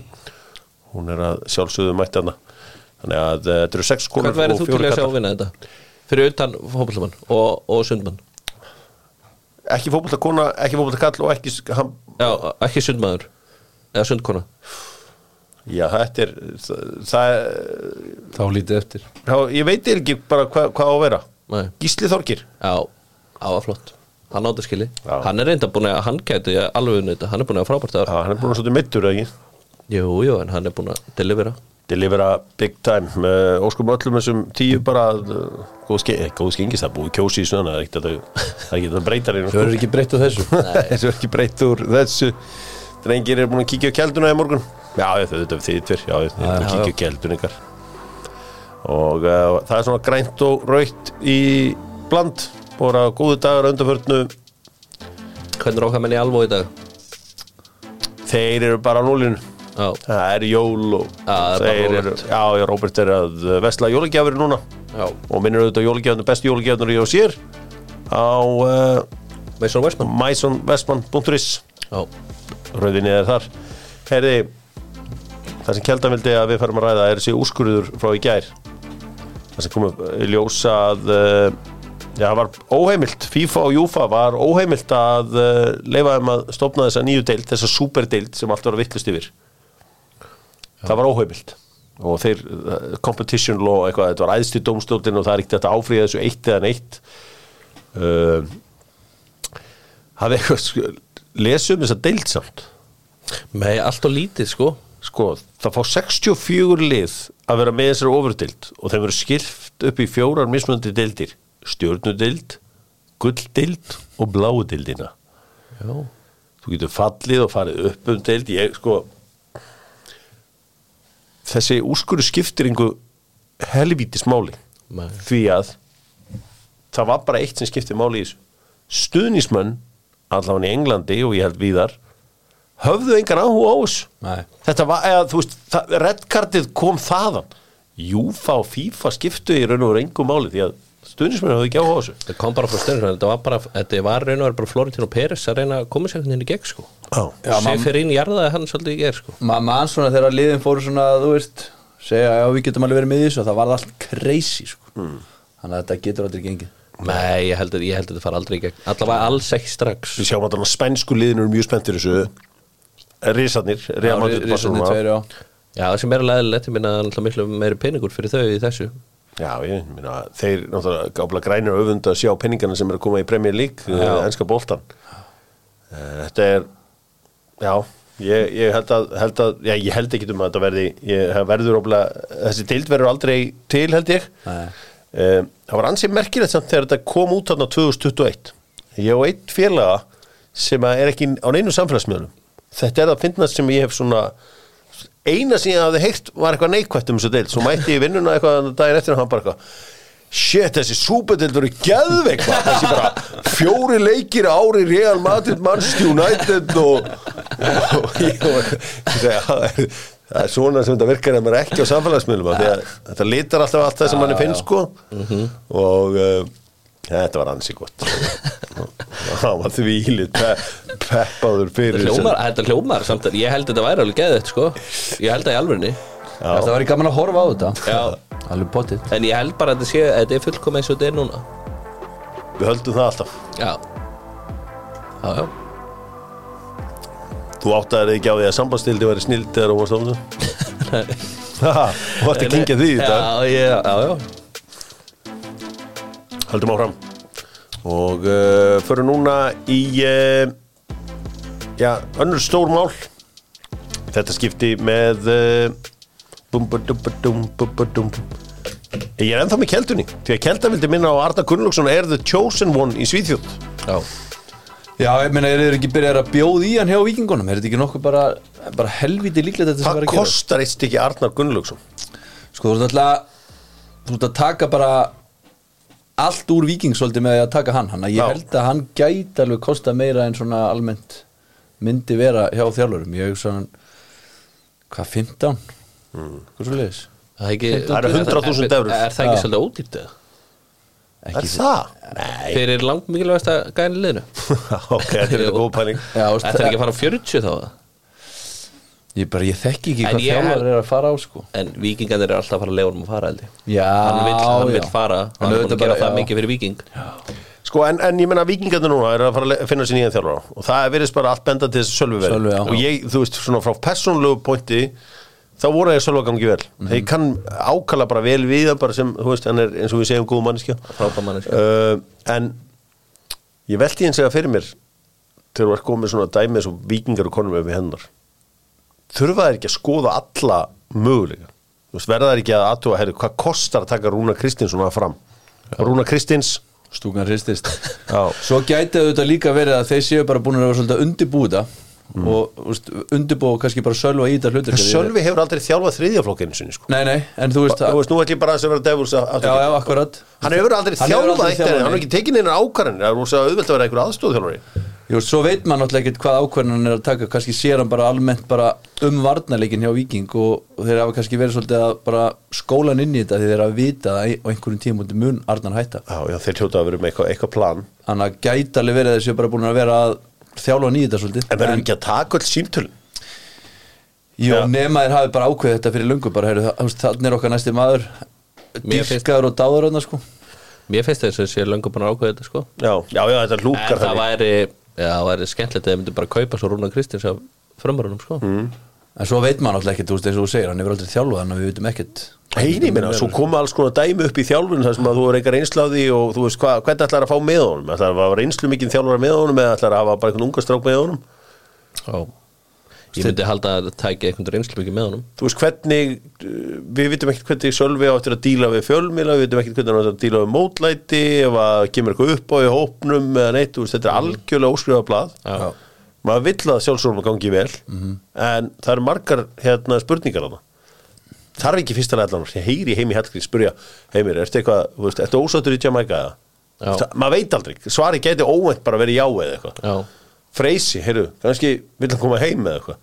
[SPEAKER 1] Hún er að sjálfsögðu mætti hana. Þannig að uh, þetta eru sex konur
[SPEAKER 2] Hvern verður þú til
[SPEAKER 1] fjórir
[SPEAKER 2] að sjá
[SPEAKER 1] karlar.
[SPEAKER 2] vinna þetta? Fyrir utan hópallamann og, og sundmann
[SPEAKER 1] ekki fótbolta kona, ekki fótbolta kall og ekki hann,
[SPEAKER 2] Já, ekki sundmaður Eða sundkona
[SPEAKER 1] já, þetta er það, það
[SPEAKER 3] Þá lítið eftir
[SPEAKER 1] já, ég veit ekki bara hva, hvað á að vera
[SPEAKER 2] Nei.
[SPEAKER 1] Gísli Þorgir,
[SPEAKER 2] Já, á að flott hann átti skili,
[SPEAKER 1] Já.
[SPEAKER 2] hann er reynda búin að hann gæti alveg unnið þetta, hann er búin að hafa frábært ára
[SPEAKER 1] Já, hann er búin að svolítið meittur, eða ekki?
[SPEAKER 2] jú, jú, en hann er búin að delivera
[SPEAKER 1] Delivera big time. Uh, óskum öllum þessum tíu bara uh, góð, ske, eh, góð skengist, það er búið kjósi í svona, það er ekkert að það er ekkert að breyta
[SPEAKER 3] Þau
[SPEAKER 1] reyna.
[SPEAKER 3] eru ekki breytt á þessu
[SPEAKER 1] Þessu er ekki breytt úr þessu. Drengir eru búin að kíkja á kelduna í morgun. Já, já, þau þetta er þið tver, já, þau eru búin að
[SPEAKER 3] já.
[SPEAKER 1] kíkja á keldun ykkar. Og uh, það er svona grænt og raukt í bland, bara góðu dagar undanförnu
[SPEAKER 2] hvernig ráka menn í alvó í dag
[SPEAKER 1] Þeir eru bara á núlinu.
[SPEAKER 2] já,
[SPEAKER 1] Það er jól og
[SPEAKER 2] Já, það er bara
[SPEAKER 1] þeir
[SPEAKER 2] Róbert.
[SPEAKER 1] já, já, Róbert er að vesla jólagjafir núna
[SPEAKER 2] já,
[SPEAKER 1] og minnir auðvitað jólagjafinu, bestu jólagjafinu ég á sér á uh,
[SPEAKER 2] Mason Westman
[SPEAKER 1] mysonvestman.is
[SPEAKER 2] já,
[SPEAKER 1] rauðinni er þar Herði, það sem Kjeldan vildi að við færum að ræða er þessi úrskurður frá í gær það sem komum ljósa að uh, já, það var óheimilt FIFA og Júfa var óheimilt að uh, leifa um að stopna þessa nýju deild, þessa superdeild sem allt var að vittlust yfir það var óheimilt og þeir, uh, competition law eitthvað, þetta var æðst í dómstólinn og það er ekkert þetta áfríða þessu eitt eða neitt uh, hafði eitthvað sk- lesum þessa deild samt
[SPEAKER 2] með allt og lítið sko
[SPEAKER 1] sko, það fá 64 lið að vera með þessari ofurdild og þeim eru skilft upp í fjórar mismunandi deildir stjórnudild, gulldild og bláudildina
[SPEAKER 2] já,
[SPEAKER 1] þú getur fallið og farið upp um deild ég sko þessi úrskurðu skiptir yngu helvítis máli
[SPEAKER 2] Nei.
[SPEAKER 1] því að það var bara eitt sem skiptir máli í þessu stuðnismenn, allavega í Englandi og ég held víðar höfðu engan áhuga á þessu
[SPEAKER 3] Nei.
[SPEAKER 1] þetta var, eða, þú veist, það- red cardið kom þaðan Júfa og FIFA skiptu í raun og veru engu máli því að stuðnismenn höfðu ekki áhuga á þessu
[SPEAKER 2] það kom bara frá stjórnir þetta var bara, þetta var reynið bara Florentino Peres að reyna að koma sér hvernig inn í gegn sko
[SPEAKER 1] Já.
[SPEAKER 3] Já,
[SPEAKER 2] sig
[SPEAKER 3] mam-
[SPEAKER 2] fyrir inn í jarðaði hann svolítið í gegn sko
[SPEAKER 3] Maður mann svona þegar liðin fóru svona þú veist, segja já við getum alveg verið með í þessu og það varð allt crazy sko.
[SPEAKER 1] Hmm.
[SPEAKER 3] þannig að þetta getur aldrei gengið
[SPEAKER 2] Nei, ég held að, ég held að þetta fara aldrei í gegn Allavega alls ekki strax
[SPEAKER 1] við sjáum að þarna spænsku liðinu eru mjög spenntir þessu Rísarnir, Real Madrid,
[SPEAKER 3] Rísarnir
[SPEAKER 1] Barcelona
[SPEAKER 3] tveir, já
[SPEAKER 2] Já, það sem er leðilegt, ég minna alltaf miklu meiri peningur fyrir þau í þessu
[SPEAKER 1] Já, ég meina, þeir náttúrulega gáfla grænir öfund að sjá penningana sem eru að koma í Premier League, eh, enska boltan Eh, Þetta er já, ég, ég held að, held að já, ég held ekki um að þetta verði ég það verður oflega, þessi deild verður aldrei til held ég
[SPEAKER 3] Nei.
[SPEAKER 1] um, Það var ansið merkilegt samt þegar þetta kom út þarna 2021 Ég og eitt félaga sem að er ekki á neinu samfélagsmiðlum Þetta er að finna sem ég hef svona eina sem ég hafði heyrt var eitthvað neikvætt um þessu deild svo mætti ég í vinnuna eitthvað daginn eftir og hann bara eitthvað shit, þessi súpedeild voru geðveik maður. þessi bara fjóri leikir á ári Real Madrid, Manchester United og, og, og ég var- ég segi, "Já, það er svona sem þetta virkar ef maður er ekki á samfélagsmiðlum af því að þetta litar alltaf allt það sem manni finnst sko
[SPEAKER 2] Mhm.
[SPEAKER 1] og uh, þetta var ansi gott það var því ílið pe peppaður fyrir
[SPEAKER 2] Þetta hljómar, þetta hljómar samt að ég held að þetta væri alveg geðið sko Ég held það í alvörinni
[SPEAKER 3] þetta var gaman að horfa á þetta
[SPEAKER 2] Já
[SPEAKER 3] alveg potið
[SPEAKER 2] En ég held bara að þetta sé, að þetta er fullkom eins og þetta er núna
[SPEAKER 1] við höldum það alltaf
[SPEAKER 2] Já Já, já
[SPEAKER 1] Þú áttaðir þig ekki á því að sambandstildi væri snild þegar þú varst á þessu? Haha, Þú ætti að kynkja því í dag
[SPEAKER 2] Já, já, já, já
[SPEAKER 1] Haldum áfram Og uh, förum núna í uh, Já, önnur stór mál Þetta skipti með uh, bum, bum, bum, bum, bum, bum, bum. Ég er ennþá með keldunni Því að keldan vildi minna á Arna Gunnlaugsson Er the chosen one í Svíþjótt
[SPEAKER 2] Já,
[SPEAKER 3] já, ég meina, eru þeir ekki byrjað að bjóða í hann hjá vikingunum er þetta ekki nokkuð bara, bara helviti líklegt þetta sem
[SPEAKER 1] Hvað
[SPEAKER 3] var að gera
[SPEAKER 1] kostar eitt stykki Arnar Gunnlaugsson?
[SPEAKER 3] sko þú ert alltaf þú ert að taka bara allt úr viking svolítið með því að taka hann hann að
[SPEAKER 1] Já.
[SPEAKER 3] ég held að hann gæti alveg kosta meira en svona almennt myndi vera hjá þjálfurum ég hugsa hann hvað 15
[SPEAKER 1] Hmm.
[SPEAKER 3] hvað svo leiðis
[SPEAKER 2] það er ekki
[SPEAKER 1] Það eru 100.000 evrur.
[SPEAKER 2] Er það ekki
[SPEAKER 3] Já.
[SPEAKER 2] svolítið ódýrt eða?
[SPEAKER 1] Er það? Nei
[SPEAKER 2] Fyrir langt mikilvægast að gæna liðinu
[SPEAKER 1] Ok, þetta er
[SPEAKER 2] Jú.
[SPEAKER 1] góð pæling
[SPEAKER 3] Já, veist,
[SPEAKER 2] Þetta er ekki að fara á 40 þá eða?
[SPEAKER 3] ég bara ég þekki ekki
[SPEAKER 2] En
[SPEAKER 3] hvað
[SPEAKER 2] ég
[SPEAKER 3] þjálfur
[SPEAKER 2] held-
[SPEAKER 3] er að fara á sko
[SPEAKER 2] En vikingarnir eru alltaf að fara að leiða um að fara held ég
[SPEAKER 3] já
[SPEAKER 2] hann vill, hann
[SPEAKER 3] já.
[SPEAKER 2] vill fara
[SPEAKER 3] En
[SPEAKER 2] hann er búin
[SPEAKER 3] auðvitað
[SPEAKER 2] að gera
[SPEAKER 3] bara-
[SPEAKER 2] það
[SPEAKER 3] já.
[SPEAKER 2] mikið fyrir viking
[SPEAKER 1] Sko, en, en ég menna vikingarnir núna er að fara að le- finna sér nýjan þjálfara og það verðist bara allt benda til þessi sölvi
[SPEAKER 3] Sölvi,
[SPEAKER 1] verið
[SPEAKER 3] já.
[SPEAKER 1] og ég, þú veist, svona frá persónlegu pointi þá voru ég sölva gangi vel
[SPEAKER 3] Mhm.
[SPEAKER 1] mm ég kann ákala bara vel við hann bara sem, þú veist, hann er eins og við segjum góð manneskja
[SPEAKER 2] Frábær manneskja.
[SPEAKER 1] uh, en Ég velti hins eða fyrir mér þegar þú ert komið svona dæmi eins og vikingar og konum ef við hennar þurfa þær ekki að skoða alla möguleika Þú veist, verða þær ekki að aðtúa herri, hvað kostar að taka Rúna Kristins svona fram Rúna Kristins
[SPEAKER 3] stúkan hristist
[SPEAKER 1] Já.
[SPEAKER 3] svo gæti þetta líka verið að þeir séu bara búin að vera svolítið að undirbúða mm. og úst, undirbúða og kannski bara sölva í þetta hlutur
[SPEAKER 1] Hmm. Sölvi hefur aldrei þjálfað þriðjaflokkinu sinni sko.
[SPEAKER 3] nei, nei, en þú veist
[SPEAKER 1] Þú
[SPEAKER 3] að
[SPEAKER 1] veist, nú ætlum ég bara að sem vera devils að- að-
[SPEAKER 3] já, já, akkurat
[SPEAKER 1] Hann hefur aldrei
[SPEAKER 3] Hann hefur
[SPEAKER 1] þjálfað
[SPEAKER 3] aldrei
[SPEAKER 1] eitt en
[SPEAKER 3] þjálfað
[SPEAKER 1] hann hefur ekki tekið neina ákvarðin Það er rosa auðvelt að vera einhver aðstóðþjálfari
[SPEAKER 3] Jú, svo veit maður náttúrulega ekkert hvað ákvörðan hann er að taka kannski sér hann bara almennt bara um varnarleikin hjá Víking og, og þeir hafa kannski verið svolítið að bara skólan inn í þetta því þeir hafa vitað að í- á einhverjum tímundi mun Arnar hætta
[SPEAKER 1] Já, já, þeir hljóta að vera með eitthvað, eitthvað plan
[SPEAKER 3] þannig að gæti alveg verið að þeir séu bara búin að vera að þjálfa hann í þetta svolítið
[SPEAKER 1] En verður ekki að taka öll símtölin
[SPEAKER 3] Jú,
[SPEAKER 1] Já.
[SPEAKER 3] nema þeir hafi bara ákveðið þetta fyrir lungu bara, heyrðu, það- þú veist, þannig er okkar næsti maður
[SPEAKER 2] Mér finnst-
[SPEAKER 3] dýrkaður og dáður hann sko
[SPEAKER 2] Mér finnst þess að sé löngu búin að ákveða þetta sko
[SPEAKER 1] Já, já, já þetta
[SPEAKER 2] En
[SPEAKER 1] lúkar
[SPEAKER 2] það
[SPEAKER 1] þannig
[SPEAKER 2] væri, já, það væri skemmtilegt að þið myndu bara kaupa svo Rúna Kristins af frömmurunum sko
[SPEAKER 3] Mm. en svo veit maður náttúrulega ekkert, þú veist, eins og þú segir hann hefur aldrei þjálfað hann og við vitum ekkert
[SPEAKER 1] Heini minna, svo koma alls konar dæmi upp í þjálfun þar sem að þú er eitthvað reynslaði og þú veist hvað, hvernig ætlar að fá með honum ætlar að hafa reynslu mikið þjálfara með honum eða ætlar að hafa bara einhvern unga strák með honum
[SPEAKER 2] Já Ég myndi halda að það tæki einhvern reynslu mikið með honum
[SPEAKER 1] þú veist hvernig, uh, við vitum ekkert hvernig Sölvi áttir að díla við fjölmila við vitum ekkert hvernig hann áttir að díla við mótlæti ef að kemur eitthvað upp á í hópnum eða neitt, þú veist, þetta er algjörlega óskrifa blað
[SPEAKER 2] Mhm. Já. Mhm.
[SPEAKER 1] maður vill að sjálfsvöldum gangi vel en það eru margar hérna, spurningar hana þarf ekki fyrst að allan heyri heimi Hallgríð spurja heimir, ertu eitthvað, þú veist, ertu ósáttur í Jamaica eða?
[SPEAKER 2] Já.
[SPEAKER 1] Þú veist, maður veit aldrei, svarið gæti óvænt bara verið já eða eitthvað
[SPEAKER 2] Já,
[SPEAKER 1] freysi, heyrðu, kannski vill hann koma heim eða eitthvað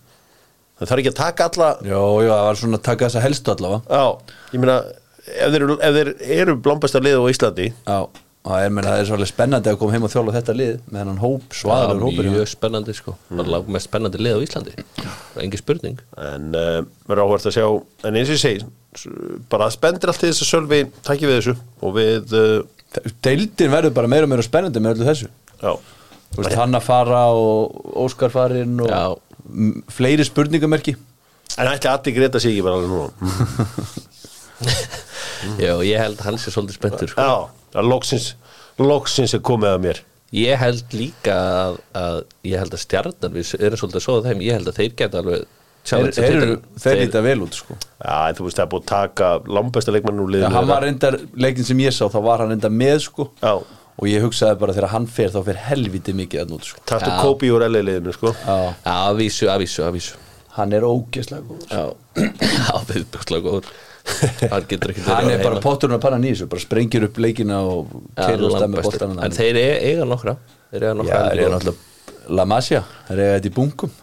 [SPEAKER 1] það þarf ekki að taka alla
[SPEAKER 3] Jó, jú, það var svona að taka þessa helstu allavega
[SPEAKER 1] Já, ég meina ef þeir, eru- ef þeir eru blombasta lið á Íslandi
[SPEAKER 3] Já, það er, menn, það er svolítið spennandi að koma heim og þjóla þetta lið með hennan hóp,
[SPEAKER 2] það
[SPEAKER 3] svaðalur hópur
[SPEAKER 2] er mjög spennandi sko
[SPEAKER 3] Mm.
[SPEAKER 2] Það er mest spennandi lið á Íslandi Engi spurning
[SPEAKER 1] en uh, verður áhvert að sjá en eins og ég segi, s- bara það spendir allt til þess að Sölvi takki við þessu og við, uh,
[SPEAKER 3] Deildin verður bara meira og meira spennandi með öllu þessu
[SPEAKER 1] já
[SPEAKER 3] Þú veist, Hanna fara og Óskar farin og
[SPEAKER 2] Já.
[SPEAKER 3] M- fleiri spurningamerki
[SPEAKER 1] en ætli allir greita sig ekki bara alveg núna
[SPEAKER 3] Mm.
[SPEAKER 2] Já, ég held að hann sé svolítið spenntur sko.
[SPEAKER 1] Já, það loksins loksins er komið að mér
[SPEAKER 2] Ég held líka að, að ég held að stjarnan, við erum svolítið að soða þeim ég held að þeir geta alveg
[SPEAKER 3] Þeir,
[SPEAKER 2] challenge
[SPEAKER 3] þeir, eru-
[SPEAKER 2] titilinn.
[SPEAKER 3] þeir líta vel út sko
[SPEAKER 1] Já, en þú veist það er búið að taka lambesta leikmann úr
[SPEAKER 3] Já,
[SPEAKER 1] liðinu
[SPEAKER 3] hann var reyndar, leikin sem ég sá, þá var hann reyndar með sko
[SPEAKER 1] Já,
[SPEAKER 3] og ég hugsaði bara þegar hann fer þá fer helviti mikið að nút sko
[SPEAKER 1] taktu
[SPEAKER 2] Já.
[SPEAKER 1] Kobi úr LA liðinu sko
[SPEAKER 3] Já,
[SPEAKER 2] Já, að vísu, að vísu, að vísu
[SPEAKER 3] hann er ógeðslega góð
[SPEAKER 2] Já, já viðbjókslega góður Hann getur ekki
[SPEAKER 3] Hann er bara potturinn að panna nýs og bara sprengir upp leikina og keirir og stað með boltan
[SPEAKER 2] En þeir e- eiga nokkra Þeir eiga
[SPEAKER 3] Já,
[SPEAKER 2] nokkra
[SPEAKER 3] það
[SPEAKER 2] heldur
[SPEAKER 3] er
[SPEAKER 2] góða.
[SPEAKER 3] náttúrulega La Masia, það er eitthvað í bunkum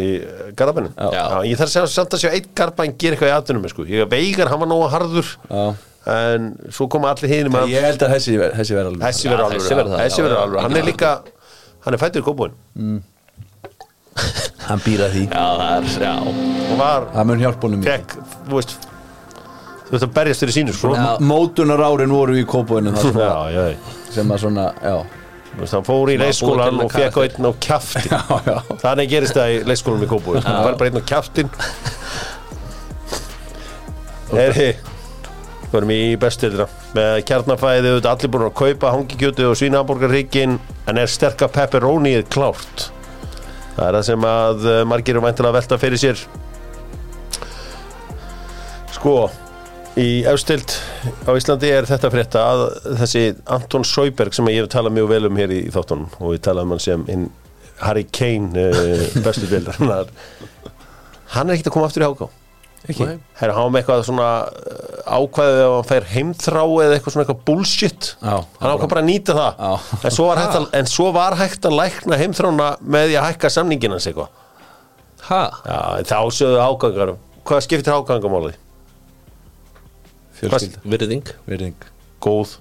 [SPEAKER 1] í Garabænum
[SPEAKER 3] Já.
[SPEAKER 1] Ég þarf að sjá, samt að sjá eitt Garabæn gera eitthvað í aðdunum sko. Ég veigar, hann var nóga harður
[SPEAKER 3] Já.
[SPEAKER 1] en svo koma allir hinum að
[SPEAKER 3] Ég held að þessi, þessi verða alveg
[SPEAKER 1] Hessi verður
[SPEAKER 2] Já,
[SPEAKER 1] alvöru
[SPEAKER 2] þessi verður það,
[SPEAKER 1] Hessi
[SPEAKER 2] já,
[SPEAKER 1] verður
[SPEAKER 2] já,
[SPEAKER 1] alvöru, hann
[SPEAKER 2] já.
[SPEAKER 1] er líka hann er fættur í kópúin
[SPEAKER 3] Hann býra því,
[SPEAKER 2] Já, það er, já
[SPEAKER 1] og var,
[SPEAKER 3] það mun hjálpa honum mikið.
[SPEAKER 1] fekk, þú veist þú veist að berjast fyrir sínu sko
[SPEAKER 2] Já.
[SPEAKER 3] Mótunar árin voru í kópóinu
[SPEAKER 1] já, já, já.
[SPEAKER 3] sem að svona, já
[SPEAKER 1] Þú veist, hann fór í
[SPEAKER 2] búið
[SPEAKER 1] leikskólan
[SPEAKER 2] til
[SPEAKER 1] og fekk á
[SPEAKER 2] karakter.
[SPEAKER 1] einn á kjaftin
[SPEAKER 3] Já, já,
[SPEAKER 1] þannig gerist það í leikskólanum í kópúin hann var bara einn á kjaftin Heri vorum í bestilina með kjarnafæði, auðvitað, allir búin að kaupa hangikjötu og svínahamborgarrikkin en er sterka pepperónið klárt það er það sem að eh, margir eru mæntilega að velta fyrir sér sko í austild á Íslandi er þetta frétta að þessi Anton Sjöberg sem ég hef talað mjög vel um hér í, í þáttunum og ég talaði um hann sem hinn Harry Kane uh, bestu bildar hann er ekkert að koma aftur í háká
[SPEAKER 3] ekki
[SPEAKER 2] Nei.
[SPEAKER 1] Herra, hann var með eitthvað svona eh, ákvæðið ef hann fær heimþrá eða eitthvað svona eitthvað bullshit
[SPEAKER 3] Já,
[SPEAKER 1] hann ákvað bara að nýta það
[SPEAKER 3] Já.
[SPEAKER 1] en svo, var hægt að, en svo var hægt að lækna heimþrána með því að hækka samningin hans eitthvað
[SPEAKER 2] Ha?
[SPEAKER 1] Já, en þá sögðu ágangar hvað skiptir ágangamáli?
[SPEAKER 3] Fjölskylda,
[SPEAKER 2] Virðing
[SPEAKER 3] virðing
[SPEAKER 1] Góð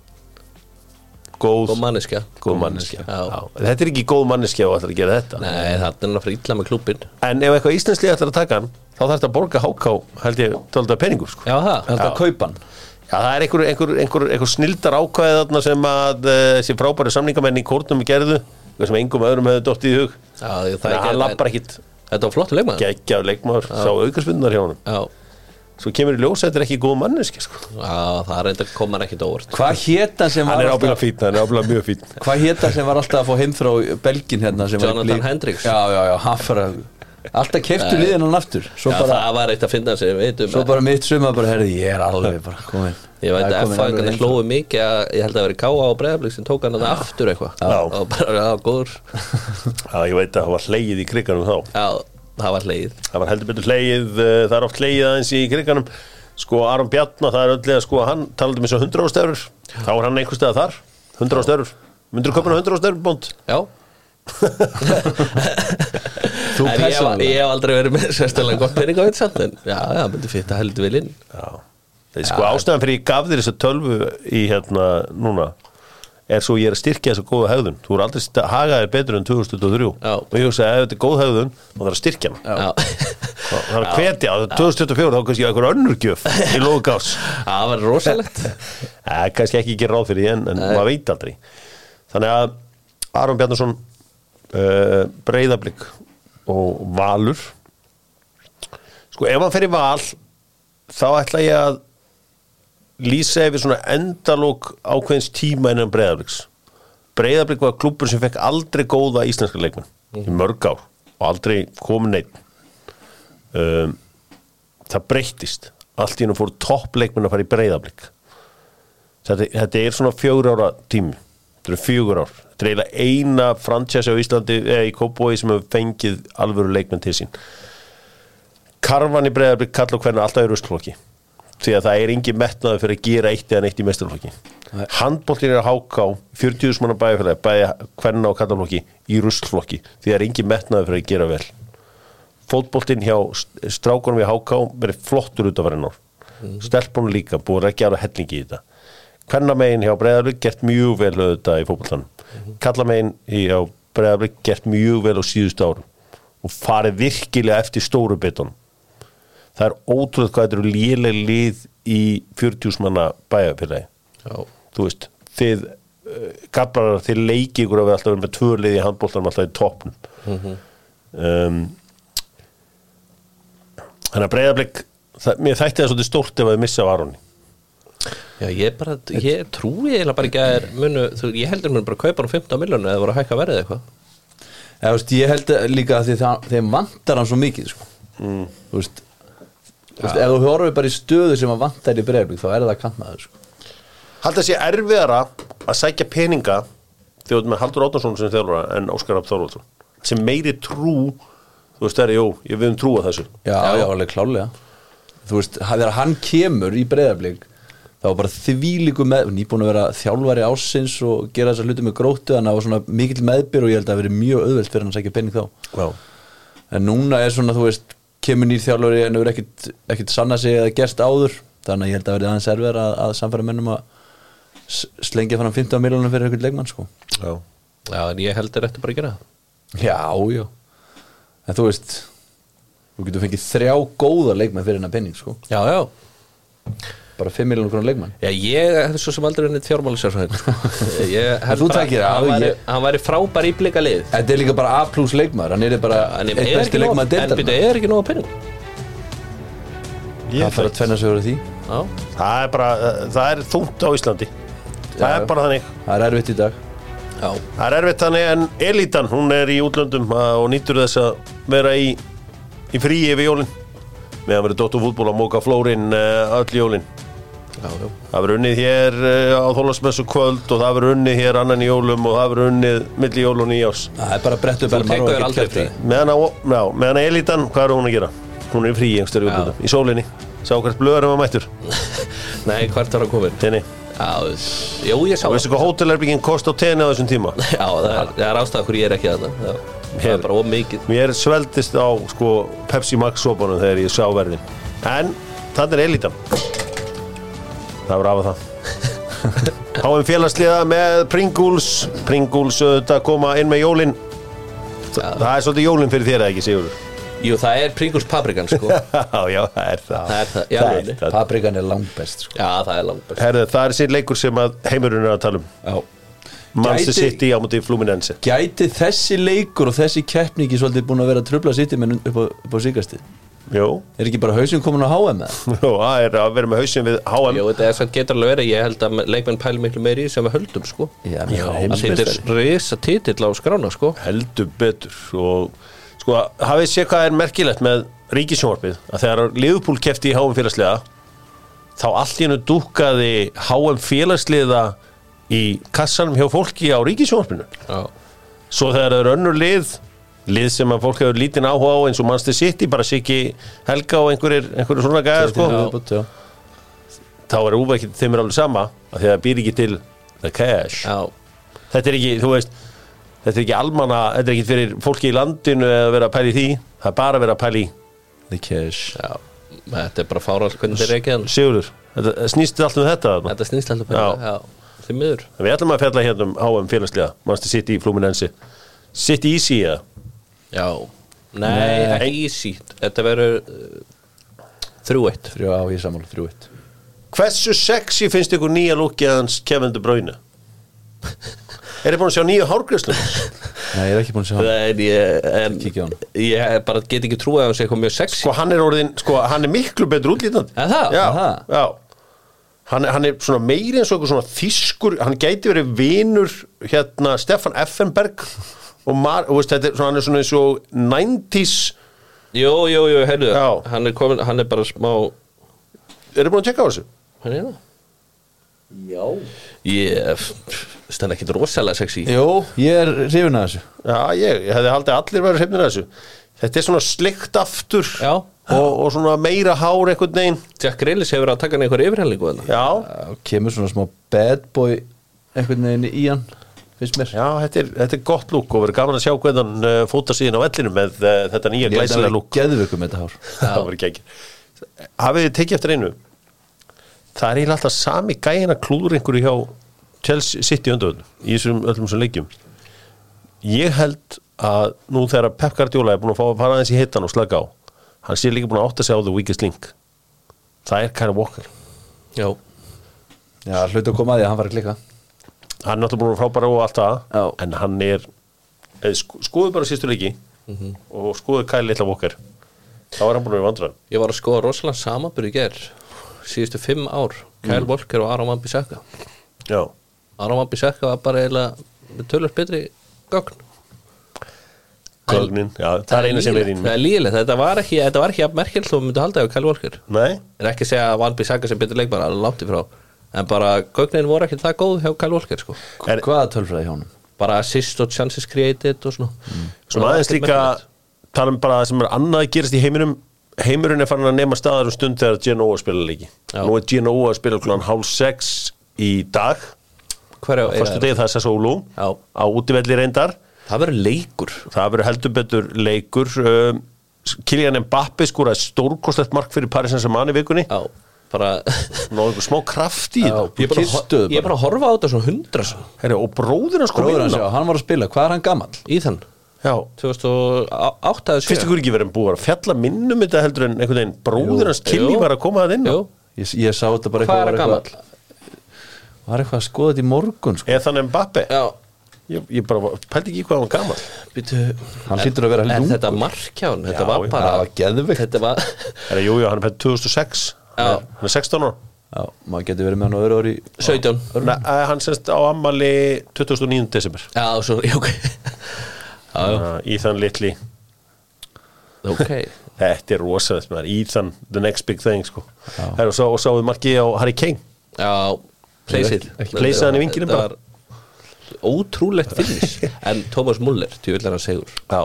[SPEAKER 1] Góð
[SPEAKER 2] og manneskja
[SPEAKER 1] góð manneskja
[SPEAKER 2] Já.
[SPEAKER 1] Já. þetta er ekki góð manneskja og ætlar að gera þetta
[SPEAKER 2] Nei, það er náttúrulega fyrir illa með klúbin
[SPEAKER 1] en ef eitthvað íslenslið ætlar að taka hann þá þarf þetta að borga háká held ég tólda peningum sko.
[SPEAKER 2] Já, það
[SPEAKER 3] Held að kaupa hann
[SPEAKER 1] Já, það er einhver, einhver, einhver, einhver snildar ákvæði þarna sem að eh, þessi frábæri samningamenn í kórnum gerðu eitthvað sem engum öðrum hefðu dótt í hug
[SPEAKER 2] Já, ég-
[SPEAKER 1] þannig
[SPEAKER 2] það er
[SPEAKER 1] að hann
[SPEAKER 2] ekki
[SPEAKER 1] lappar ekkit
[SPEAKER 2] Þetta var flottu leikmaður
[SPEAKER 1] geggjaður leikmaður sá aukarspunnar hjá honum
[SPEAKER 2] Já,
[SPEAKER 1] svo kemur í ljós að þetta er ekki góð manneski sko.
[SPEAKER 2] Já, það reyndar kom hann ekkit óvart
[SPEAKER 3] Hvað hétan sem var
[SPEAKER 1] hann er ábyggilega
[SPEAKER 3] alltaf
[SPEAKER 1] fín, hann er ábyggilega mjög fín
[SPEAKER 3] Hvað hétan sem var alltaf að fá heim frá Belgin hérna sem var í
[SPEAKER 2] Jonathan
[SPEAKER 3] blík-
[SPEAKER 2] Hendricks.
[SPEAKER 3] Já, já, já, hann fara Alltaf keftu liðin hann aftur Svo
[SPEAKER 2] Já,
[SPEAKER 3] bara,
[SPEAKER 2] það var eitt að finna sem við veitum
[SPEAKER 3] svo bara mitt suma bara, herði, ég er alveg bara komin
[SPEAKER 2] Ég veit að
[SPEAKER 3] Það er komin alveg
[SPEAKER 2] F-fæðingarnir
[SPEAKER 3] heim.
[SPEAKER 2] hlóðu mikið að ég held að það veri K.A. og Breiðablík sem tók hann að aftur eitthvað
[SPEAKER 1] Já.
[SPEAKER 2] og bara, já, góður
[SPEAKER 1] já, ég veit að það var hlegið í kriganum þá
[SPEAKER 2] Já, það var hlegið
[SPEAKER 1] það var heldur betur hlegið, uh, það er oft hlegið aðeins í kriganum sko Aron Bjarnar, það er öllega sko hann talaði um eins og 100 ástefur þá er hann einhvers staðar þar, 100 ástefur myndur þú köpina 100 ástefur bónd?
[SPEAKER 2] Já
[SPEAKER 3] Þú
[SPEAKER 2] En ég, hef-
[SPEAKER 3] persónulega?
[SPEAKER 2] ég hef aldrei verið með sérstæðlega gott pening á eitt samt en já, það myndi fyrta heldur vel inn
[SPEAKER 1] Já, það er sko ástæðan fyrir ég gaf þér þessa tölvu í hérna núna er svo ég er að styrkja þessa góða hegðun þú er aldrei st- að haga þér betur en 2023
[SPEAKER 2] Já.
[SPEAKER 1] og ég hugsa að ef þetta er góð hegðun þá þarf að styrkja hana
[SPEAKER 2] Já,
[SPEAKER 1] Þá þarf að hvetja, á 2024 þá kannski ég eitthvað önnur gjöf í lóðgás
[SPEAKER 2] það var rosalegt
[SPEAKER 1] Eh, kannski ekki gera ráð fyrir því en, en maður veit aldrei þannig að Aron Bjarnason uh, breyðablík og valur sko ef hann fer í val þá ætla ég að lýsa yfir svona endalók ákveðins tíma innan breyðablíks breyðablík var klubur sem fekk aldrei góða íslenska leikmenn í mörg ár og aldrei komin neitt um, það breyttist allt í hennu fór toppleikmenn að fara í breyðablík þetta, þetta er svona fjögur ára tími þetta eru fjögur ár þetta er eiginlega eina franchise á Íslandi eða í Kópói sem hefur fengið alvöru leikmenn til sín Karvan í breyðarblik kall og hvernig alltaf í rusklokki því að það er engin metnaði fyrir að gera eitt eða neitt í mestarlokki handbóltin er að háká 40.000 manna bæjarfélagi bæja hvernig á kallaflokki í ruslflokki því það er engin metnaði fyrir að gera vel fótboltinn hjá st- strákunum í HK verið flottur út af verið nór mm. stelpunum líka, búið ekki alveg hellingi í þetta kvennamegin hjá Breiðarvík gert mjög vel auðvitað í fótboltanum mm. kallamegin hjá Breiðarvík gert mjög vel á síðustu árum og farið virkilega eftir stóru betunum það er ótrúð hvað þetta eru léleg lið í 40 manna bæjarfélagi
[SPEAKER 2] Já,
[SPEAKER 1] þú veist, þið uh, gabbarar, þið leikið ykkur að vera alltaf verið með tvö lið í handbóltanum alltaf í toppnum Mhm. um, Þannig að breyðarblik mér þætti það svolítið stórt ef að þið missa af Aroni
[SPEAKER 2] já ég bara, ég trúi eiginlega bara ekki að er munu, þú, ég heldur munu bara kaupa hann um 15 miljónu eða voru að hækka verðið eitthvað
[SPEAKER 3] Já, þú veist, ég held líka að því það, þeim vantar hann svo mikið sko.
[SPEAKER 2] Mm.
[SPEAKER 3] þú veist, þú veist ef þú horfir bara í stöðu sem hann vantar í breyfling þá er það kantmaður sko.
[SPEAKER 1] Haldið að sé erfiðara að sækja peninga þjóðum með Haldur Átnarsson sem þjálfara en Óskar Rapp Þorvaldsson sem meiri trú þú veist, það er, jú, ég viðum trúa þessu
[SPEAKER 3] já, já, alveg klálega þú veist, ha- þegar hann kemur í breyfling þá var bara þvílíku með nýbúin að vera þjálfari ásins og gera þessar hluti með gróttu þannig að það var svona mikill meðbyr og ég held að það hafi verið mjög auðvelt fyrir hann að sækja pening þá
[SPEAKER 1] Já,
[SPEAKER 3] en núna er svona, þú veist, kemur nýr þjálfari en hefur ekkit, ekkit sanna sig eða gerst áður þannig að ég held að verði aðeins erfið að, að samfæra mennum að s- slengja fram 15 miljonum fyrir ekkert leikmann sko
[SPEAKER 1] já
[SPEAKER 2] Já, en ég heldur eftir bara að gera það
[SPEAKER 3] já, já en þú veist, þú getur fengið þrjá góða leikmann fyrir hennar penning sko
[SPEAKER 2] Já, já,
[SPEAKER 3] bara 5 miljonum grunar leikmann
[SPEAKER 2] Já, ég hef svo sem aldrei unnið sko. fjármálusjárfræðin
[SPEAKER 3] þú tækir það,
[SPEAKER 2] hann,
[SPEAKER 3] ég-
[SPEAKER 2] væri- hann væri frábær í blika lið
[SPEAKER 3] þetta er líka bara A plus leikmann hann er bara
[SPEAKER 2] En ég
[SPEAKER 3] eitt
[SPEAKER 2] er ekki
[SPEAKER 3] besti
[SPEAKER 2] nóg
[SPEAKER 3] leikmann
[SPEAKER 2] En
[SPEAKER 3] deildan
[SPEAKER 2] byrja,
[SPEAKER 3] það
[SPEAKER 2] er ekki nóg að penning
[SPEAKER 1] Ég
[SPEAKER 3] þarf að
[SPEAKER 1] veit.
[SPEAKER 3] tvenna sig fyrir því
[SPEAKER 2] Já,
[SPEAKER 1] Það er bara, uh, það er þungt á Íslandi Það
[SPEAKER 3] Já.
[SPEAKER 1] er bara þannig
[SPEAKER 3] það er erfitt í dag
[SPEAKER 2] já,
[SPEAKER 1] Það er erfitt þannig en elitan, hún er í útlöndum uh, og nýtur þess að vera í, í fríi yfir jólin meðan verið Dóttur fútból að móka flórin uh, öll jólin.
[SPEAKER 2] já, já
[SPEAKER 1] Það verið unnið hér uh, á Þólasmessu kvöld og það verið unnið hér annan í jólum og það verið unnið milli jól og nýjárs.
[SPEAKER 3] það er bara brettu
[SPEAKER 2] Þú tekur þér aldrei frí
[SPEAKER 3] það
[SPEAKER 1] Meðan, á, já, meðan að elitan, hvað er hún að gera? Hún er í fríi einhverjum
[SPEAKER 2] Já.
[SPEAKER 1] útlöndum, í sólinni. Sá hvert blöður um að mættur,
[SPEAKER 2] Nei, hvert var að komin?
[SPEAKER 1] tenni.
[SPEAKER 2] Já, s- jú, ég sá
[SPEAKER 1] Og veistu hvað hótelherbygging kost á tenni á þessum tíma?
[SPEAKER 2] Já, það er, það er ástæða hverju ég er ekki þarna já. Það
[SPEAKER 1] Her-
[SPEAKER 2] er bara of mikið
[SPEAKER 1] Mér sveldist á sko, Pepsi Max sopanum þegar ég sá verðin En þannig er elitan Það var af að það Háum félagsliða með Pringles Pringles auðvitað koma inn með jólin
[SPEAKER 2] já.
[SPEAKER 1] Það er svolítið jólin fyrir þér eða ekki Sigur
[SPEAKER 2] Jú, það er Pringles paprikan, sko Já,
[SPEAKER 1] Já, já, það er það
[SPEAKER 2] Það er það, já,
[SPEAKER 1] það,
[SPEAKER 2] rauninni.
[SPEAKER 1] er það.
[SPEAKER 3] paprikan er langbest sko
[SPEAKER 2] það er langt best
[SPEAKER 1] Herðu, það er sér leikur sem að heimurinn er að tala um
[SPEAKER 3] já
[SPEAKER 1] Manchester
[SPEAKER 3] Gæti-
[SPEAKER 1] City á múti Fluminense
[SPEAKER 3] Gæti þessi leikur og þessi keppningi svolítið búin að vera að trubla sýtti menn upp á, upp á síkasti?
[SPEAKER 1] Jú,
[SPEAKER 3] Er ekki bara hausinn komin á HM eða?
[SPEAKER 1] Jú, það er að vera með hausinn við HM
[SPEAKER 2] Jó, þetta er samt getur alveg verið, ég held að leikmenn pæli miklu meiri í sem við höldum, sko
[SPEAKER 3] Já,
[SPEAKER 2] Að
[SPEAKER 3] menn,
[SPEAKER 2] Þetta er
[SPEAKER 3] heimsmeistari.
[SPEAKER 2] risa titill á skrána, sko
[SPEAKER 1] heldur betur og sko, hafið sé hvað er merkilegt með ríkisjónvarpið að þegar Liverpool kefti í HM félagsliða þá allt í hennu dúkkaði HM félagsliða í kassanum hjá fólki á ríkisjónvarpinu
[SPEAKER 2] Já,
[SPEAKER 1] svo þegar það eru önnur lið lið sem að fólk hefur lítinn áhuga á eins og Manchester City, bara Siggi Helga og einhverjir, einhverjir svona gæðar sko
[SPEAKER 3] Já.
[SPEAKER 1] þá er úvæg ekki þeim er alveg sama af því að það býr ekki til the cash
[SPEAKER 2] já,
[SPEAKER 1] þetta er ekki, þú veist þetta er ekki almanna, þetta er ekki fyrir fólki í landinu að vera að pæli því, það er bara að vera að pæli
[SPEAKER 3] The cash
[SPEAKER 2] já Þetta er bara fáralt hvernig þeir ekki hann
[SPEAKER 1] Sigurður, þetta snýst allt um þetta þarna.
[SPEAKER 2] Þetta snýst
[SPEAKER 1] Já.
[SPEAKER 2] alltaf bara, já, því miður
[SPEAKER 1] við ætlum að fjalla hérna um HM félagslega Manchester City í Fluminense City Easy eða?
[SPEAKER 2] Já, nei, ekki easy Þetta verður eh, þrjú eitt
[SPEAKER 3] Þrjó á ég er sammála, þrjó eitt
[SPEAKER 1] hversu sexy finnst ykkur nýja lúkið hans Kevin De Bruyne er þið búin að sjá nýju hárgræslu
[SPEAKER 3] Nei, ég er ekki búin að sjá hann
[SPEAKER 2] En ég, en
[SPEAKER 3] Kíkja á hann.
[SPEAKER 2] ég bara get ekki trúið að hann sé eitthvað mjög sexy
[SPEAKER 1] sko hann er orðin, sko hann er miklu betur útlítandi
[SPEAKER 2] Er það?
[SPEAKER 1] já,
[SPEAKER 3] Er það?
[SPEAKER 1] já hann, er- hann er svona meiri eins og eitthvað svona þýskur, hann gæti verið vinur hérna Stefan Effenberg og Mar, og veist, þetta er svona, hann er svona eins og 90s,
[SPEAKER 2] Jú, jú, jú, heyrðu
[SPEAKER 1] Já.
[SPEAKER 2] hann er, komin, hann er bara smá
[SPEAKER 1] eru búin að tjekka á þessu?
[SPEAKER 2] Hann er það Já Ég stend ekki rosalega sexy
[SPEAKER 3] Jó, ég er hrifin að þessu
[SPEAKER 1] Já, ég, ég hefði haldið að allir verið hreifnir að þessu þetta er svona slikt aftur
[SPEAKER 2] Já.
[SPEAKER 1] og, og svona meira hár einhvern veginn
[SPEAKER 2] Jack Grealish hefur að taka hann einhver yfirhellingu þarna.
[SPEAKER 1] já,
[SPEAKER 3] Já, Kemur svona smá bad boy einhvern veginn í hann Finnst mér
[SPEAKER 1] já þetta, er, þetta er gott lúk og verið gaman að sjá hvernig uh, fóta síðan á vellinu með uh, þetta nýja
[SPEAKER 3] Ég held að
[SPEAKER 1] glæsilega
[SPEAKER 3] það
[SPEAKER 1] lúk
[SPEAKER 3] er geðvöku með þetta hár
[SPEAKER 1] það var ekki ekki hafið þið tekið eftir einu það er eiginlega alltaf sami gæin að klúður einhverju hjá Chelsea City öndöðun í þessum öllum sem leikjum ég held að nú þegar Pep Guardiola er búin að fá að fara aðeins í hittan og slaka á hann sé líka búin að átta sig á The Weakest Link það er Kyle Walker
[SPEAKER 2] Já
[SPEAKER 3] Já, hlut að koma að því að hann var að klika
[SPEAKER 1] hann er náttúrulega búin að frábæra og allt
[SPEAKER 3] Já.
[SPEAKER 1] það en hann er eh, sk- skoðu bara sístu leiki og skoðu Kyle Little Walker þá er hann búin að vera vandræðum
[SPEAKER 2] Ég var að skoða rosalega samanbyrði ger síðustu fimm ár
[SPEAKER 1] Mm.
[SPEAKER 2] Kyle Walker og Aron Van Bissaka
[SPEAKER 1] já,
[SPEAKER 2] Aron Van Bissaka var bara eiginlega með tölvöld betri gögn
[SPEAKER 1] Kögnin, já, það er eina sem er í
[SPEAKER 2] lýgilegt, Það er líðilegt, þetta var ekki, þetta var ekki merkjöld þú myndi halda ef Kyle Walker
[SPEAKER 1] nei
[SPEAKER 2] er ekki að segja að Van Bissaka sem betur leikmar alveg látti frá en bara gögnin voru ekki það góð hjá Kyle Walker sko.
[SPEAKER 1] Er-
[SPEAKER 3] Hvaða tölfræði hjá honum?
[SPEAKER 2] bara assist og chances created og svona
[SPEAKER 1] Svona aðeins líka tala um bara það sem er annað að gerast í heiminum heimurinn er farin að nema staðar um stund þegar Genoa spila leiki
[SPEAKER 2] Já.
[SPEAKER 1] nú er Genoa að spila klukkan hálf sex í dag
[SPEAKER 2] hverja
[SPEAKER 1] fyrstu degi það er Sassólu
[SPEAKER 2] Já.
[SPEAKER 1] á útivelli reyndar
[SPEAKER 2] það verður leikur
[SPEAKER 1] það verður heldur betur leikur um, Kylian Mbappe skúra stórkostlegt mark fyrir Paris Saint-Germain í vikunni
[SPEAKER 2] já, bara
[SPEAKER 1] Nó einhver smá kraft í það
[SPEAKER 2] ég er bara,
[SPEAKER 3] Kistuðu
[SPEAKER 2] ég er bara að horfa á þetta svona hundra
[SPEAKER 1] Herri, og bróðir hans kom
[SPEAKER 3] Bróður
[SPEAKER 1] inn
[SPEAKER 3] hans, já,
[SPEAKER 1] á
[SPEAKER 3] hann var að spila, hvað er hann gamall?
[SPEAKER 2] í þann
[SPEAKER 1] Já.
[SPEAKER 2] 2008 eða
[SPEAKER 1] finnst
[SPEAKER 2] 2007.
[SPEAKER 1] ykkur ekki verið búið að fjalla minnum þetta heldur en einhvern veginn bróðir hans Kyli
[SPEAKER 2] Jú.
[SPEAKER 1] var að koma það inn á
[SPEAKER 2] Jú.
[SPEAKER 3] Ég, ég sá þetta bara
[SPEAKER 2] hvað er
[SPEAKER 3] var
[SPEAKER 2] að gamall?
[SPEAKER 3] Var eitthvað að skoða þetta í morgun, sko
[SPEAKER 1] eða þannig Mbappe
[SPEAKER 2] já,
[SPEAKER 1] Ég, ég bara pældi ekki hvað hann var gammal
[SPEAKER 2] býtu
[SPEAKER 3] Hann hlýtur að vera
[SPEAKER 2] en
[SPEAKER 3] heldur
[SPEAKER 2] þetta markján, þetta
[SPEAKER 1] Já,
[SPEAKER 2] var
[SPEAKER 1] já,
[SPEAKER 2] bara
[SPEAKER 3] það var geðveikt.
[SPEAKER 2] þetta var,
[SPEAKER 1] Er það jújú, hann er fætt 2006
[SPEAKER 2] Já.
[SPEAKER 1] Hann er- Hann er 16 ára
[SPEAKER 3] Já, maður getur verið með hann á öðru ári
[SPEAKER 2] 17
[SPEAKER 1] Nei, eh, Hann semst á ammali 2009. desember
[SPEAKER 2] já, svo, já, ok já,
[SPEAKER 1] Ah, Ethan Little
[SPEAKER 2] já, ok
[SPEAKER 1] Þetta er rosalegt maður Ethan, the next big thing sko. Her, og, sá, og sáuð markið á Harry Kane
[SPEAKER 2] Já, pleysið
[SPEAKER 3] Ekki- ekki
[SPEAKER 1] pleysið hann í vinkinum bara.
[SPEAKER 2] Ótrúlegt finnis En Thomas Muller, því vil hann segur
[SPEAKER 1] Já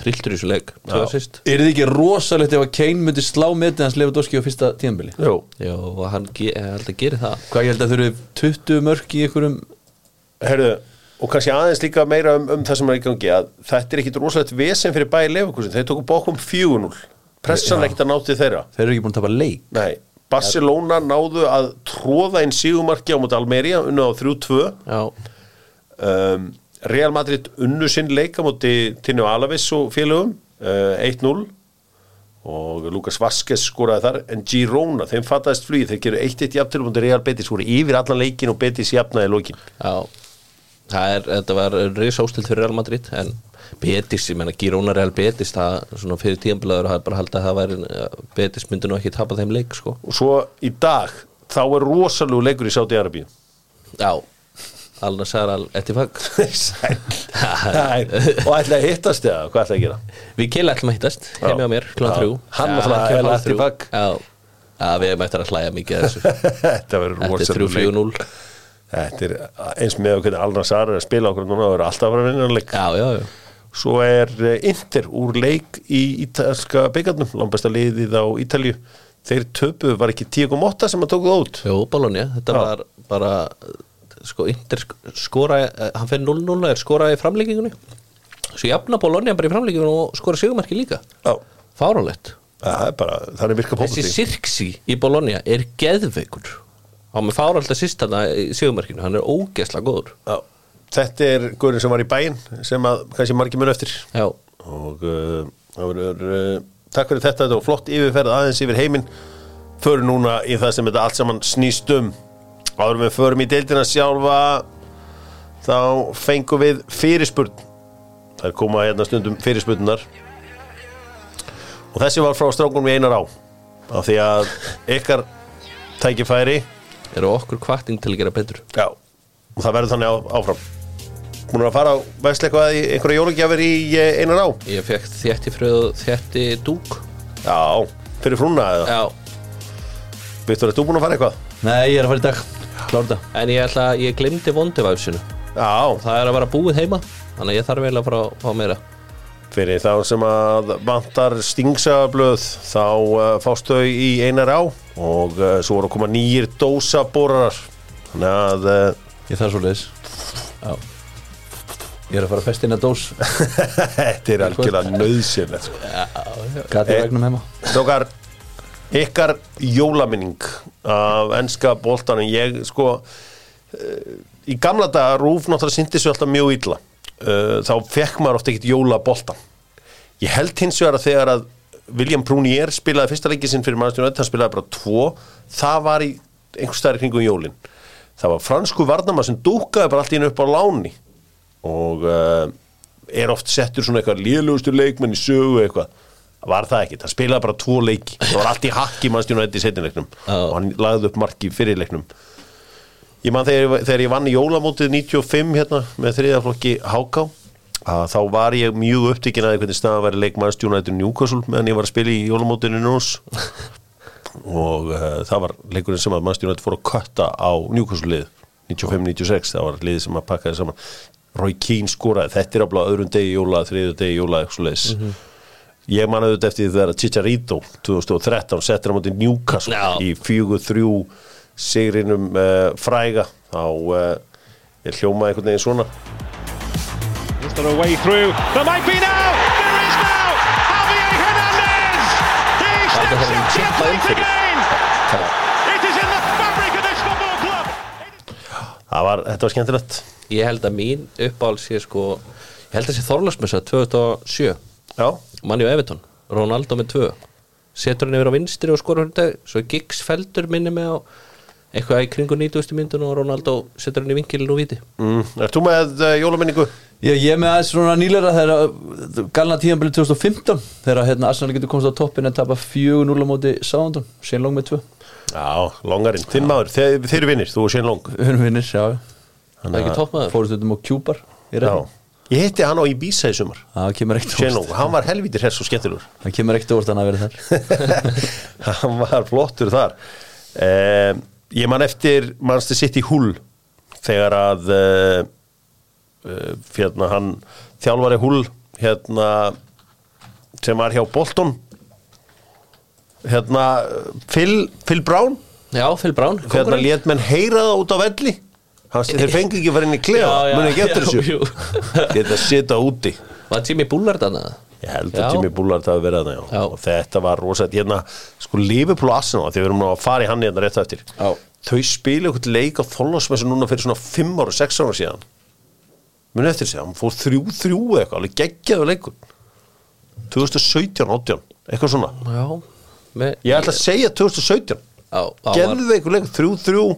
[SPEAKER 2] Trilltur í þessu leik, þú
[SPEAKER 1] Já.
[SPEAKER 2] var sýst
[SPEAKER 3] Er þið ekki rosalegt ef að Kane myndi slá metið hans Lewandowski á fyrsta tíðanbili?
[SPEAKER 1] Jú,
[SPEAKER 2] Já, og hann ge- eh, held að gera það
[SPEAKER 3] Hvað ég held að þurfið 20 mörk í einhverjum
[SPEAKER 1] herðu og kannski aðeins líka meira um, um það sem er í gangi að þetta er ekkit rosalegt vesen fyrir bæði lefakursin, þeir tóku bókum 4-0 pressan er ekkit að náti þeirra
[SPEAKER 3] Þeir eru ekki búin að tapa leik
[SPEAKER 1] Nei, Barcelona náðu að tróða inn sígumarki á móti Almeria unna á 3-2
[SPEAKER 2] Já,
[SPEAKER 1] um, Real Madrid unnu sinn leika múti Tino Alavis og félögum uh, 1-0 og Lukas Vaskes skoraði þar en Girona, þeim fattaðist flugið þeir gerðu 1-1 jafntil múti Real Betis voru yfir allan leikin og Betis jafnaði lókin
[SPEAKER 2] já Það er, þetta var risástild fyrir Real Madrid En Betis, ég menna Girona Real Betis það svona fyrir tíðanbilaður hafa bara haldið að það væri að Betis myndi nú ekki tapa þeim leik sko
[SPEAKER 1] og svo í dag þá er rosalegu leikur í Sáti Arabíu
[SPEAKER 2] Já, alveg sæðar al ettifag
[SPEAKER 1] Sæl. Nei, og ætla að hittast eða hvað ætla að gera
[SPEAKER 2] Við killa ætlum að hittast, heimi á mér, klán
[SPEAKER 1] Já.
[SPEAKER 2] þrjú
[SPEAKER 1] Hann
[SPEAKER 2] Já,
[SPEAKER 1] náttúrulega
[SPEAKER 2] kemur
[SPEAKER 1] er
[SPEAKER 2] hálf
[SPEAKER 1] allt í
[SPEAKER 2] þrjú.
[SPEAKER 1] bak.
[SPEAKER 2] Já, Já, við hefum eftir að hlæja mikið að þessu
[SPEAKER 1] þetta verður
[SPEAKER 2] Þetta er
[SPEAKER 1] rosalegu leikur
[SPEAKER 2] 3-4-0
[SPEAKER 1] þetta er eins með hvernig Alna Sara er að spila okkur núna og er alltaf að vera vinnanleik
[SPEAKER 2] Já, já, já
[SPEAKER 1] svo er eh, Inter úr leik í ítalska byggarnum langbæsta liðið á Ítalju þeir töpu var ekki 10.8 sem að tóku það út
[SPEAKER 2] Jó, Bologna, þetta
[SPEAKER 1] Já.
[SPEAKER 2] var bara sko, Inter sk- skoraði eh, hann fyrir 0-0 er skoraði í framlíkingunni svo jafna Bologna bara í framlíkingunni og skoraði sigumarki líka,
[SPEAKER 1] Já,
[SPEAKER 2] fáralegt
[SPEAKER 1] það er bara, þannig virka
[SPEAKER 2] Þessi
[SPEAKER 1] fótbolti
[SPEAKER 2] sirksi í Bologna er geðveikur hann með fáralegt að sýst hann í sigumarkinu, hann er ógeðslega góður
[SPEAKER 1] Já. þetta er guðurinn sem var í bæinn sem að kannski margir mun eftir
[SPEAKER 2] Já,
[SPEAKER 1] og uh, það verður uh, takk fyrir þetta, þetta var flott yfirferð aðeins yfir heiminn förum núna í það sem þetta allt saman snýst um árum við förum í deildina sjálfa þá fengum við fyrirspurn það koma hérna stundum fyrirspurnar og þessi var frá strákunum í einar á af því að ykkar tækifæri
[SPEAKER 2] eru okkur kvarting til að gera betur
[SPEAKER 1] Já, og það verður þannig á, áfram Múnir að fara á vesli eitthvað í einhverja jólagjafir í eh, einar á
[SPEAKER 2] Ég fekk þjætti fröð, þjætti dúk
[SPEAKER 1] Já, fyrir frúna eða
[SPEAKER 2] Já,
[SPEAKER 1] Viktor, ert þú búin að fara eitthvað?
[SPEAKER 3] Nei, ég er að fara í dag Klárða
[SPEAKER 2] en ég ætla, ég glemdi vondivæfsinu
[SPEAKER 1] Já,
[SPEAKER 2] Það er að vera búið heima Þannig að ég þarf eiginlega að fara að fá meira
[SPEAKER 1] fyrir þá sem að vantar stingsablöð þá uh, fást þau í einar á og uh, svo voru að koma nýjir dósaborar þannig að uh,
[SPEAKER 3] Ég þarf svo leiðis Já Ég er að fara að festina dós
[SPEAKER 1] þetta er algjörlega nöðsynlegt sko.
[SPEAKER 3] Gati
[SPEAKER 1] Eh.
[SPEAKER 3] vegnum heima
[SPEAKER 1] Strókar, ykkar jólaminning af ennska boltanum ég sko uh, í gamla daga rúf náttúrulega sindi svo alltaf mjög illa uh, þá fekk maður ofta ekkit jólaboltan ég held hins vegar að þegar að William Prunier spilaði fyrsta leikið sinn fyrir mannstjónu öll, hann spilaði bara tvo það var í einhvers staðar í kringum jólin það var fransku varnama sem dúkkaði bara allt í hennu upp á láni og uh, er oft settur svona eitthvað liðlugustu leikmenn í sögu eitthvað var það ekki, það spilaði bara tvo leiki það var allt í hakki mannstjónu öll í setjinleiknum
[SPEAKER 2] Já.
[SPEAKER 1] og hann lagði upp marki í fyrirleiknum Ég man þegar, ég- þegar ég vann í jólamótið 95 hérna með þriðaflokki Háká að þá var ég mjög upptíkin að hvernig staða væri leikmannst United Newcastle meðan ég var að spila í jólamótinu nús og uh, það var leikurinn sem að mannst United fór að kötta á Newcastle lið 95-96, það var liðið sem að pakkaði saman Roy Keane skoraði, þetta er aflað öðrum degi jóla, þriðu degi jóla eitthvað leis ég man auðvitað eftir því þegar að Chicharito 2013 settir á móti Newcastle
[SPEAKER 2] Já.
[SPEAKER 1] í fjögur þrjú sigrinum uh, fræga þá uh, ég hljómaði einhvern veginn svona
[SPEAKER 4] Just on her way through. There might be now. There is now. Javier Hernandez. He
[SPEAKER 2] Warte,
[SPEAKER 4] steps
[SPEAKER 2] hat er einen
[SPEAKER 4] into
[SPEAKER 2] Chip
[SPEAKER 4] the
[SPEAKER 2] bei
[SPEAKER 4] plate
[SPEAKER 2] ihm vergessen?
[SPEAKER 4] again. It is in the fabric of this football club.
[SPEAKER 1] það var, þetta var skemmtilegt
[SPEAKER 2] Ég held að mín uppál sé sko Ég held að sé Þorlarsmessa 2007
[SPEAKER 1] já,
[SPEAKER 2] Manni og Everton, Ronaldo með 2 Setur hann yfir á vinstri og skorur hann dag Svo Giggs feldur minni með á Eitthvað í kringu 90. myndun og Ronaldo setur hann í vinkilin og viti
[SPEAKER 1] mm, er þú með uh, jólaminningu?
[SPEAKER 3] Ég, ég er með aðeins svona nýlera þegar galna tíðanbili 2015 þegar hérna Arsenal getur komst á toppin en tapa 4-0 á móti Sándon, Shane Long með 2
[SPEAKER 1] já, longarinn, þinn maður, þeir, þeir vinnir þú og Sjön Long
[SPEAKER 3] Hörum vinnir, já
[SPEAKER 2] Það er ekki toppmaður
[SPEAKER 3] Fórust þetta á Kjúbar í
[SPEAKER 1] já.
[SPEAKER 3] reyndum
[SPEAKER 1] ég hitti hann á Ibiza í sumar
[SPEAKER 3] Það kemur ekkert
[SPEAKER 1] Sjön
[SPEAKER 3] óvart
[SPEAKER 1] Long, hann var helvítir hess og skemmtilegur
[SPEAKER 3] Það kemur ekkert óvart að hann að vera þar
[SPEAKER 1] hann var flottur þar um, ég man eftir mannstu sitt í húl þegar að uh, uh, hérna hann þjálfari húl hérna sem var hjá Bolton hérna uh, Phil, Phil Brown
[SPEAKER 2] Já, Phil Brown
[SPEAKER 1] hérna
[SPEAKER 2] kóngurinn.
[SPEAKER 1] lét menn heyra það út á velli Hans, þeir fengi ekki að fara inn í klefa
[SPEAKER 2] Já, já,
[SPEAKER 1] muni ekki eftir
[SPEAKER 2] já,
[SPEAKER 1] þessu
[SPEAKER 2] jú.
[SPEAKER 1] þetta sita úti
[SPEAKER 2] Var Jimmy Bullard hann að
[SPEAKER 1] Ég held
[SPEAKER 2] Já.
[SPEAKER 1] að Jimmy Bullard hafi verið þarna, já.
[SPEAKER 2] Já.
[SPEAKER 1] Og þetta var rosalegt, hérna, sko, Liverpool og Arsenal, af því við erum nú að fara í hann hérna rétt á eftir.
[SPEAKER 3] Já.
[SPEAKER 1] Þau spila eitthvað leik á þólasmessu núna fyrir svona 5 ára, 6 ára síðan. Muni eftir sig, hann fór 3-3 eða eitthvað, alveg geggjaðu leikur. 2017, 18, eitthvað svona.
[SPEAKER 2] Já með,
[SPEAKER 1] Ég ætla að segja 2017.
[SPEAKER 2] Já, hann var-
[SPEAKER 1] Geðveikur leikur, 3-3,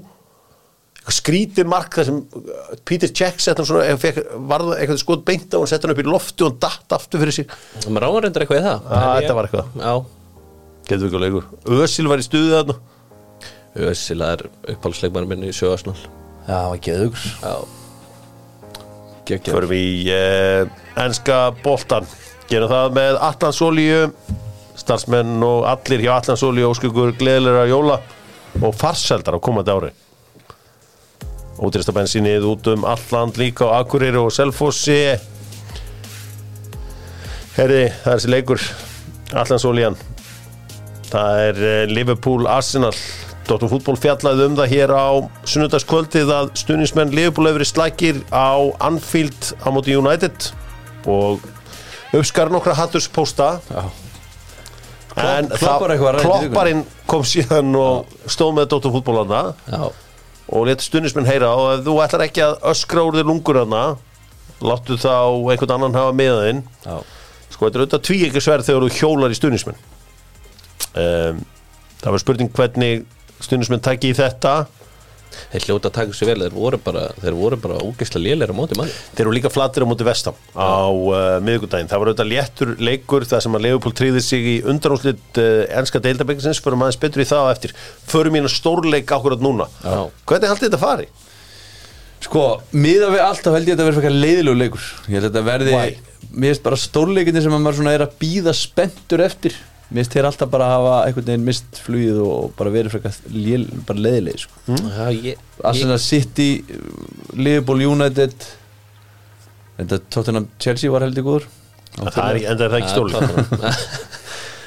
[SPEAKER 1] skrítið mark þar sem uh, Peter Cech setna svona, eða fekk, varð eitthvað skot beint á hann, setna hann upp í lofti og hann datt aftur fyrir sig
[SPEAKER 2] maður ráðar endur eitthvað í það
[SPEAKER 1] Ah,
[SPEAKER 2] En ég-
[SPEAKER 1] þetta var eitthvað.
[SPEAKER 2] já,
[SPEAKER 1] getur við ekki að leikur Ösil var í stuðið þarna
[SPEAKER 2] Ösila er uppáhaldsleikmann minn í sjöarsnál
[SPEAKER 3] Já, hann var geðugur
[SPEAKER 2] já,
[SPEAKER 3] Geðugur
[SPEAKER 1] förum í eh, enska boltan gerum það með Allansolíu starfsmenn og allir hjá Allansolíu óskugur gleðilegra jóla og farseldar á komandi ári ótrista bensinnið út um alland líka á Akureyri og Selfossi herri, það er þessi leikur Allansolían það er eh, Liverpool Arsenal Dóttum fútból fjallaði um það hér á sunnudagskvöldið að stuðnismenn Liverpool hefur verið slækir á Anfield á móti United og uppskar nokkra hatturspósta en
[SPEAKER 3] Klopp- Klopp
[SPEAKER 1] það-
[SPEAKER 3] var eitthvað að ræða í
[SPEAKER 1] klopparinn kom síðan og stóð með Dóttum fútbólanda
[SPEAKER 2] já,
[SPEAKER 1] og leta stuðnismenn heyra og ef þú ætlar ekki að öskra úr þér lungur hana láttu þá einhvern annan hafa meðaðinn
[SPEAKER 2] já
[SPEAKER 1] sko þetta er auðvitað tví ekki sverð þegar þú hjólar í stuðnismenn um, það var spurning hvernig stuðnismenn takki í þetta
[SPEAKER 2] þeir hljóta að taka sér vel, þeir voru bara þeir voru bara ógeðslega lélir á móti manni
[SPEAKER 1] þeir eru líka flatir á móti vestam á uh, miðvikudaginn, það var auðvitað léttur leikur það sem að Leopold tríði sig í undanúslit uh, enska deildabekkinsins, förum aðeins betur í það á eftir, förum í hérna stórleik akkurat núna,
[SPEAKER 2] Já.
[SPEAKER 1] hvernig haldið þetta fari?
[SPEAKER 3] Sko, miða við alltaf held ég að þetta verði fækkar leiðilegu leikur Ég held að þetta verði
[SPEAKER 1] Why?
[SPEAKER 3] Mér finnst bara stórleikinni sem að maður svona er að býða spenntur eftir Mér finnst þeir alltaf bara að hafa einhvern veginn mist flugið og og bara verið fækkar bara leiðilegi sko.
[SPEAKER 2] já, ég,
[SPEAKER 3] Arsenal City, Liverpool United Þetta Tottenham Chelsea var heldur góður
[SPEAKER 1] Það er, en það er það ekki stórleik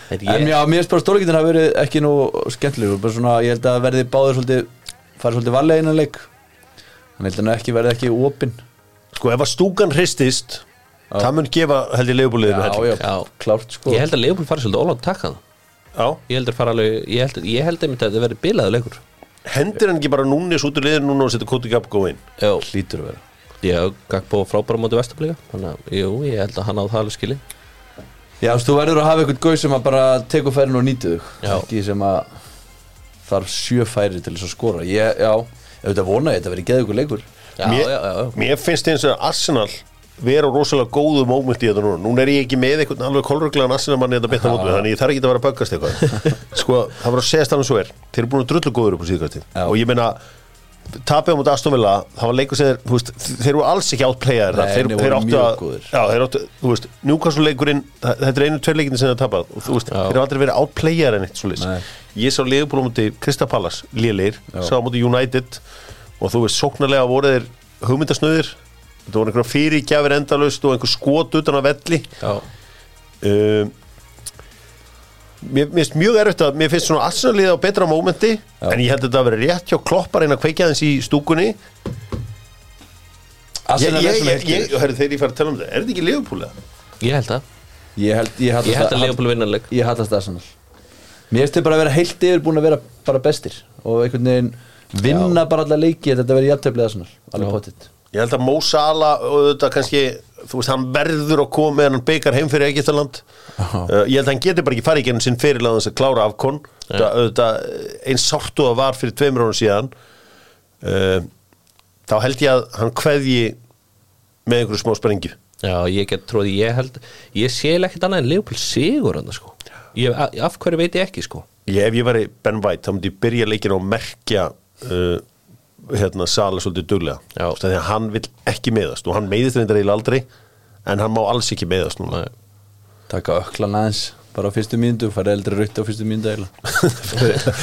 [SPEAKER 2] en
[SPEAKER 3] En
[SPEAKER 2] ég,
[SPEAKER 3] já, mér finnst bara stórleikinni að verið ekki nú skemmtilegur bara svona, Ég held að verði báður svolítið farið svolítið varlega innan leik Þannig held að hann ekki verði ekki opinn
[SPEAKER 1] sko ef að stúkan hristist
[SPEAKER 3] Já.
[SPEAKER 1] það mun gefa held ég Leopoldliðinu
[SPEAKER 3] Já,
[SPEAKER 1] helling.
[SPEAKER 3] já,
[SPEAKER 2] Já.
[SPEAKER 3] klárt sko
[SPEAKER 2] ég held að Leopold fara svolítið ólátt takkan
[SPEAKER 1] já,
[SPEAKER 2] ég held að fara alveg, ég held, ég held einmitt að þetta verði bilaðu leikur
[SPEAKER 1] hendur hann ekki bara núni svo út úr liðinu núna og setja Koti Gabko inn
[SPEAKER 2] já,
[SPEAKER 3] Lítur að vera
[SPEAKER 2] Já, Gagbo frábæra móti vestublíka Þannig að, jú, ég held að hann á það alveg skili
[SPEAKER 3] Já, þú veist, þú verður að hafa einhvern gauð sem að bara teku færin og nýtu þig
[SPEAKER 2] Já.
[SPEAKER 3] Ekki sem að þarf sjö færi til þess að skora ég, Já, ég veit að vona ég þetta verið geðið ykkur leikur
[SPEAKER 2] Já,
[SPEAKER 1] mér,
[SPEAKER 2] já, já, já.
[SPEAKER 1] mér finnst eins og Arsenal vera á rosalega góðu móment í þetta núna núna er ég ekki með einhvern alveg hérna kolruglegan Arsenal manni þetta betna mótum þannig ég þarf ekki að vera að böggast eitthvað sko það var að segja stanna svo er þeir eru búin að drullu góður upp á síðkvæmstin
[SPEAKER 3] Já.
[SPEAKER 1] og ég meina tapja á móti Aston Villa það var leikur sem þeir, þú veist, þeir eru alls ekki átplegaðir þar.
[SPEAKER 3] Nei,
[SPEAKER 1] þeir,
[SPEAKER 3] þeir
[SPEAKER 1] þeir
[SPEAKER 3] voru
[SPEAKER 1] áttu
[SPEAKER 3] mjög
[SPEAKER 1] að
[SPEAKER 3] góðir.
[SPEAKER 1] já, þeir áttu, þú veist, Newcastle leikurinn það- þetta er einu tveir leikinni sem þeir tapað og þú veist,
[SPEAKER 2] Já.
[SPEAKER 1] þeir eru aldrei verið átplegaðir en eitt svo
[SPEAKER 3] Nei.
[SPEAKER 1] ég sá Liverpool á móti Krista Pallas lélir, sá á móti United og þú veist, sóknarlega voru þeir hugmyndasnöðir, þetta voru einhverja fyrirgjafir endalaust og einhver skot utan að velli
[SPEAKER 2] Já,
[SPEAKER 1] um, mér mér finnst mjög erfitt að mér finnst svona Arsenal-liðið á betra mómenti en ég held að þetta að vera rétt hjá kloppar einn að kveikja þess í stúkunni ég, ég,
[SPEAKER 3] Arsenal er
[SPEAKER 1] ég,
[SPEAKER 3] svona
[SPEAKER 1] ég,
[SPEAKER 3] heyrkir.
[SPEAKER 1] ég herri, þegar ég fara að tala um þetta, er þetta ekki Liverpool eða?
[SPEAKER 2] ég held að
[SPEAKER 3] Ég held, ég held,
[SPEAKER 2] Ég held að Leopold vinnanleik
[SPEAKER 3] Ég hallast Arsenal Mér finnst þið bara að vera heilt yfir búin að vera bara bestir og einhvern veginn vinna bara alla leiki þetta verið jafnteflið Arsenal,
[SPEAKER 2] Já.
[SPEAKER 3] alveg pottitt
[SPEAKER 1] Ég held að Mo Salah auðvitað kannski, þú veist, hann verður að koma meðan hann beikar heim fyrir Egyptaland uh, Ég held að hann getur bara ekki farið í gennum sinn fyrir að klára afkon Þetta auðvitað eins sortu að var fyrir tveimur árum síðan uh, Þá held ég að hann kveðji með einhverju smá sprengju
[SPEAKER 2] Já, ég get tróði, ég held Ég sé ekkert annað en Leopold sigur hann sko. ég, a- Af hverju veit ég ekki, sko
[SPEAKER 1] ég, Ef ég væri Ben White, þá myndi ég byrja leikinu og merkja uh, hérna, Salah svolítið duglega
[SPEAKER 2] Já.
[SPEAKER 1] Þannig að hann vil ekki meðast og hann meiðist reyndar eiginlega aldrei En hann má alls ekki meðast núna
[SPEAKER 2] Nei.
[SPEAKER 3] Taka öklan aðeins bara á fyrstu mínútu, fara eldri rutt á fyrstu mínútu eiginlega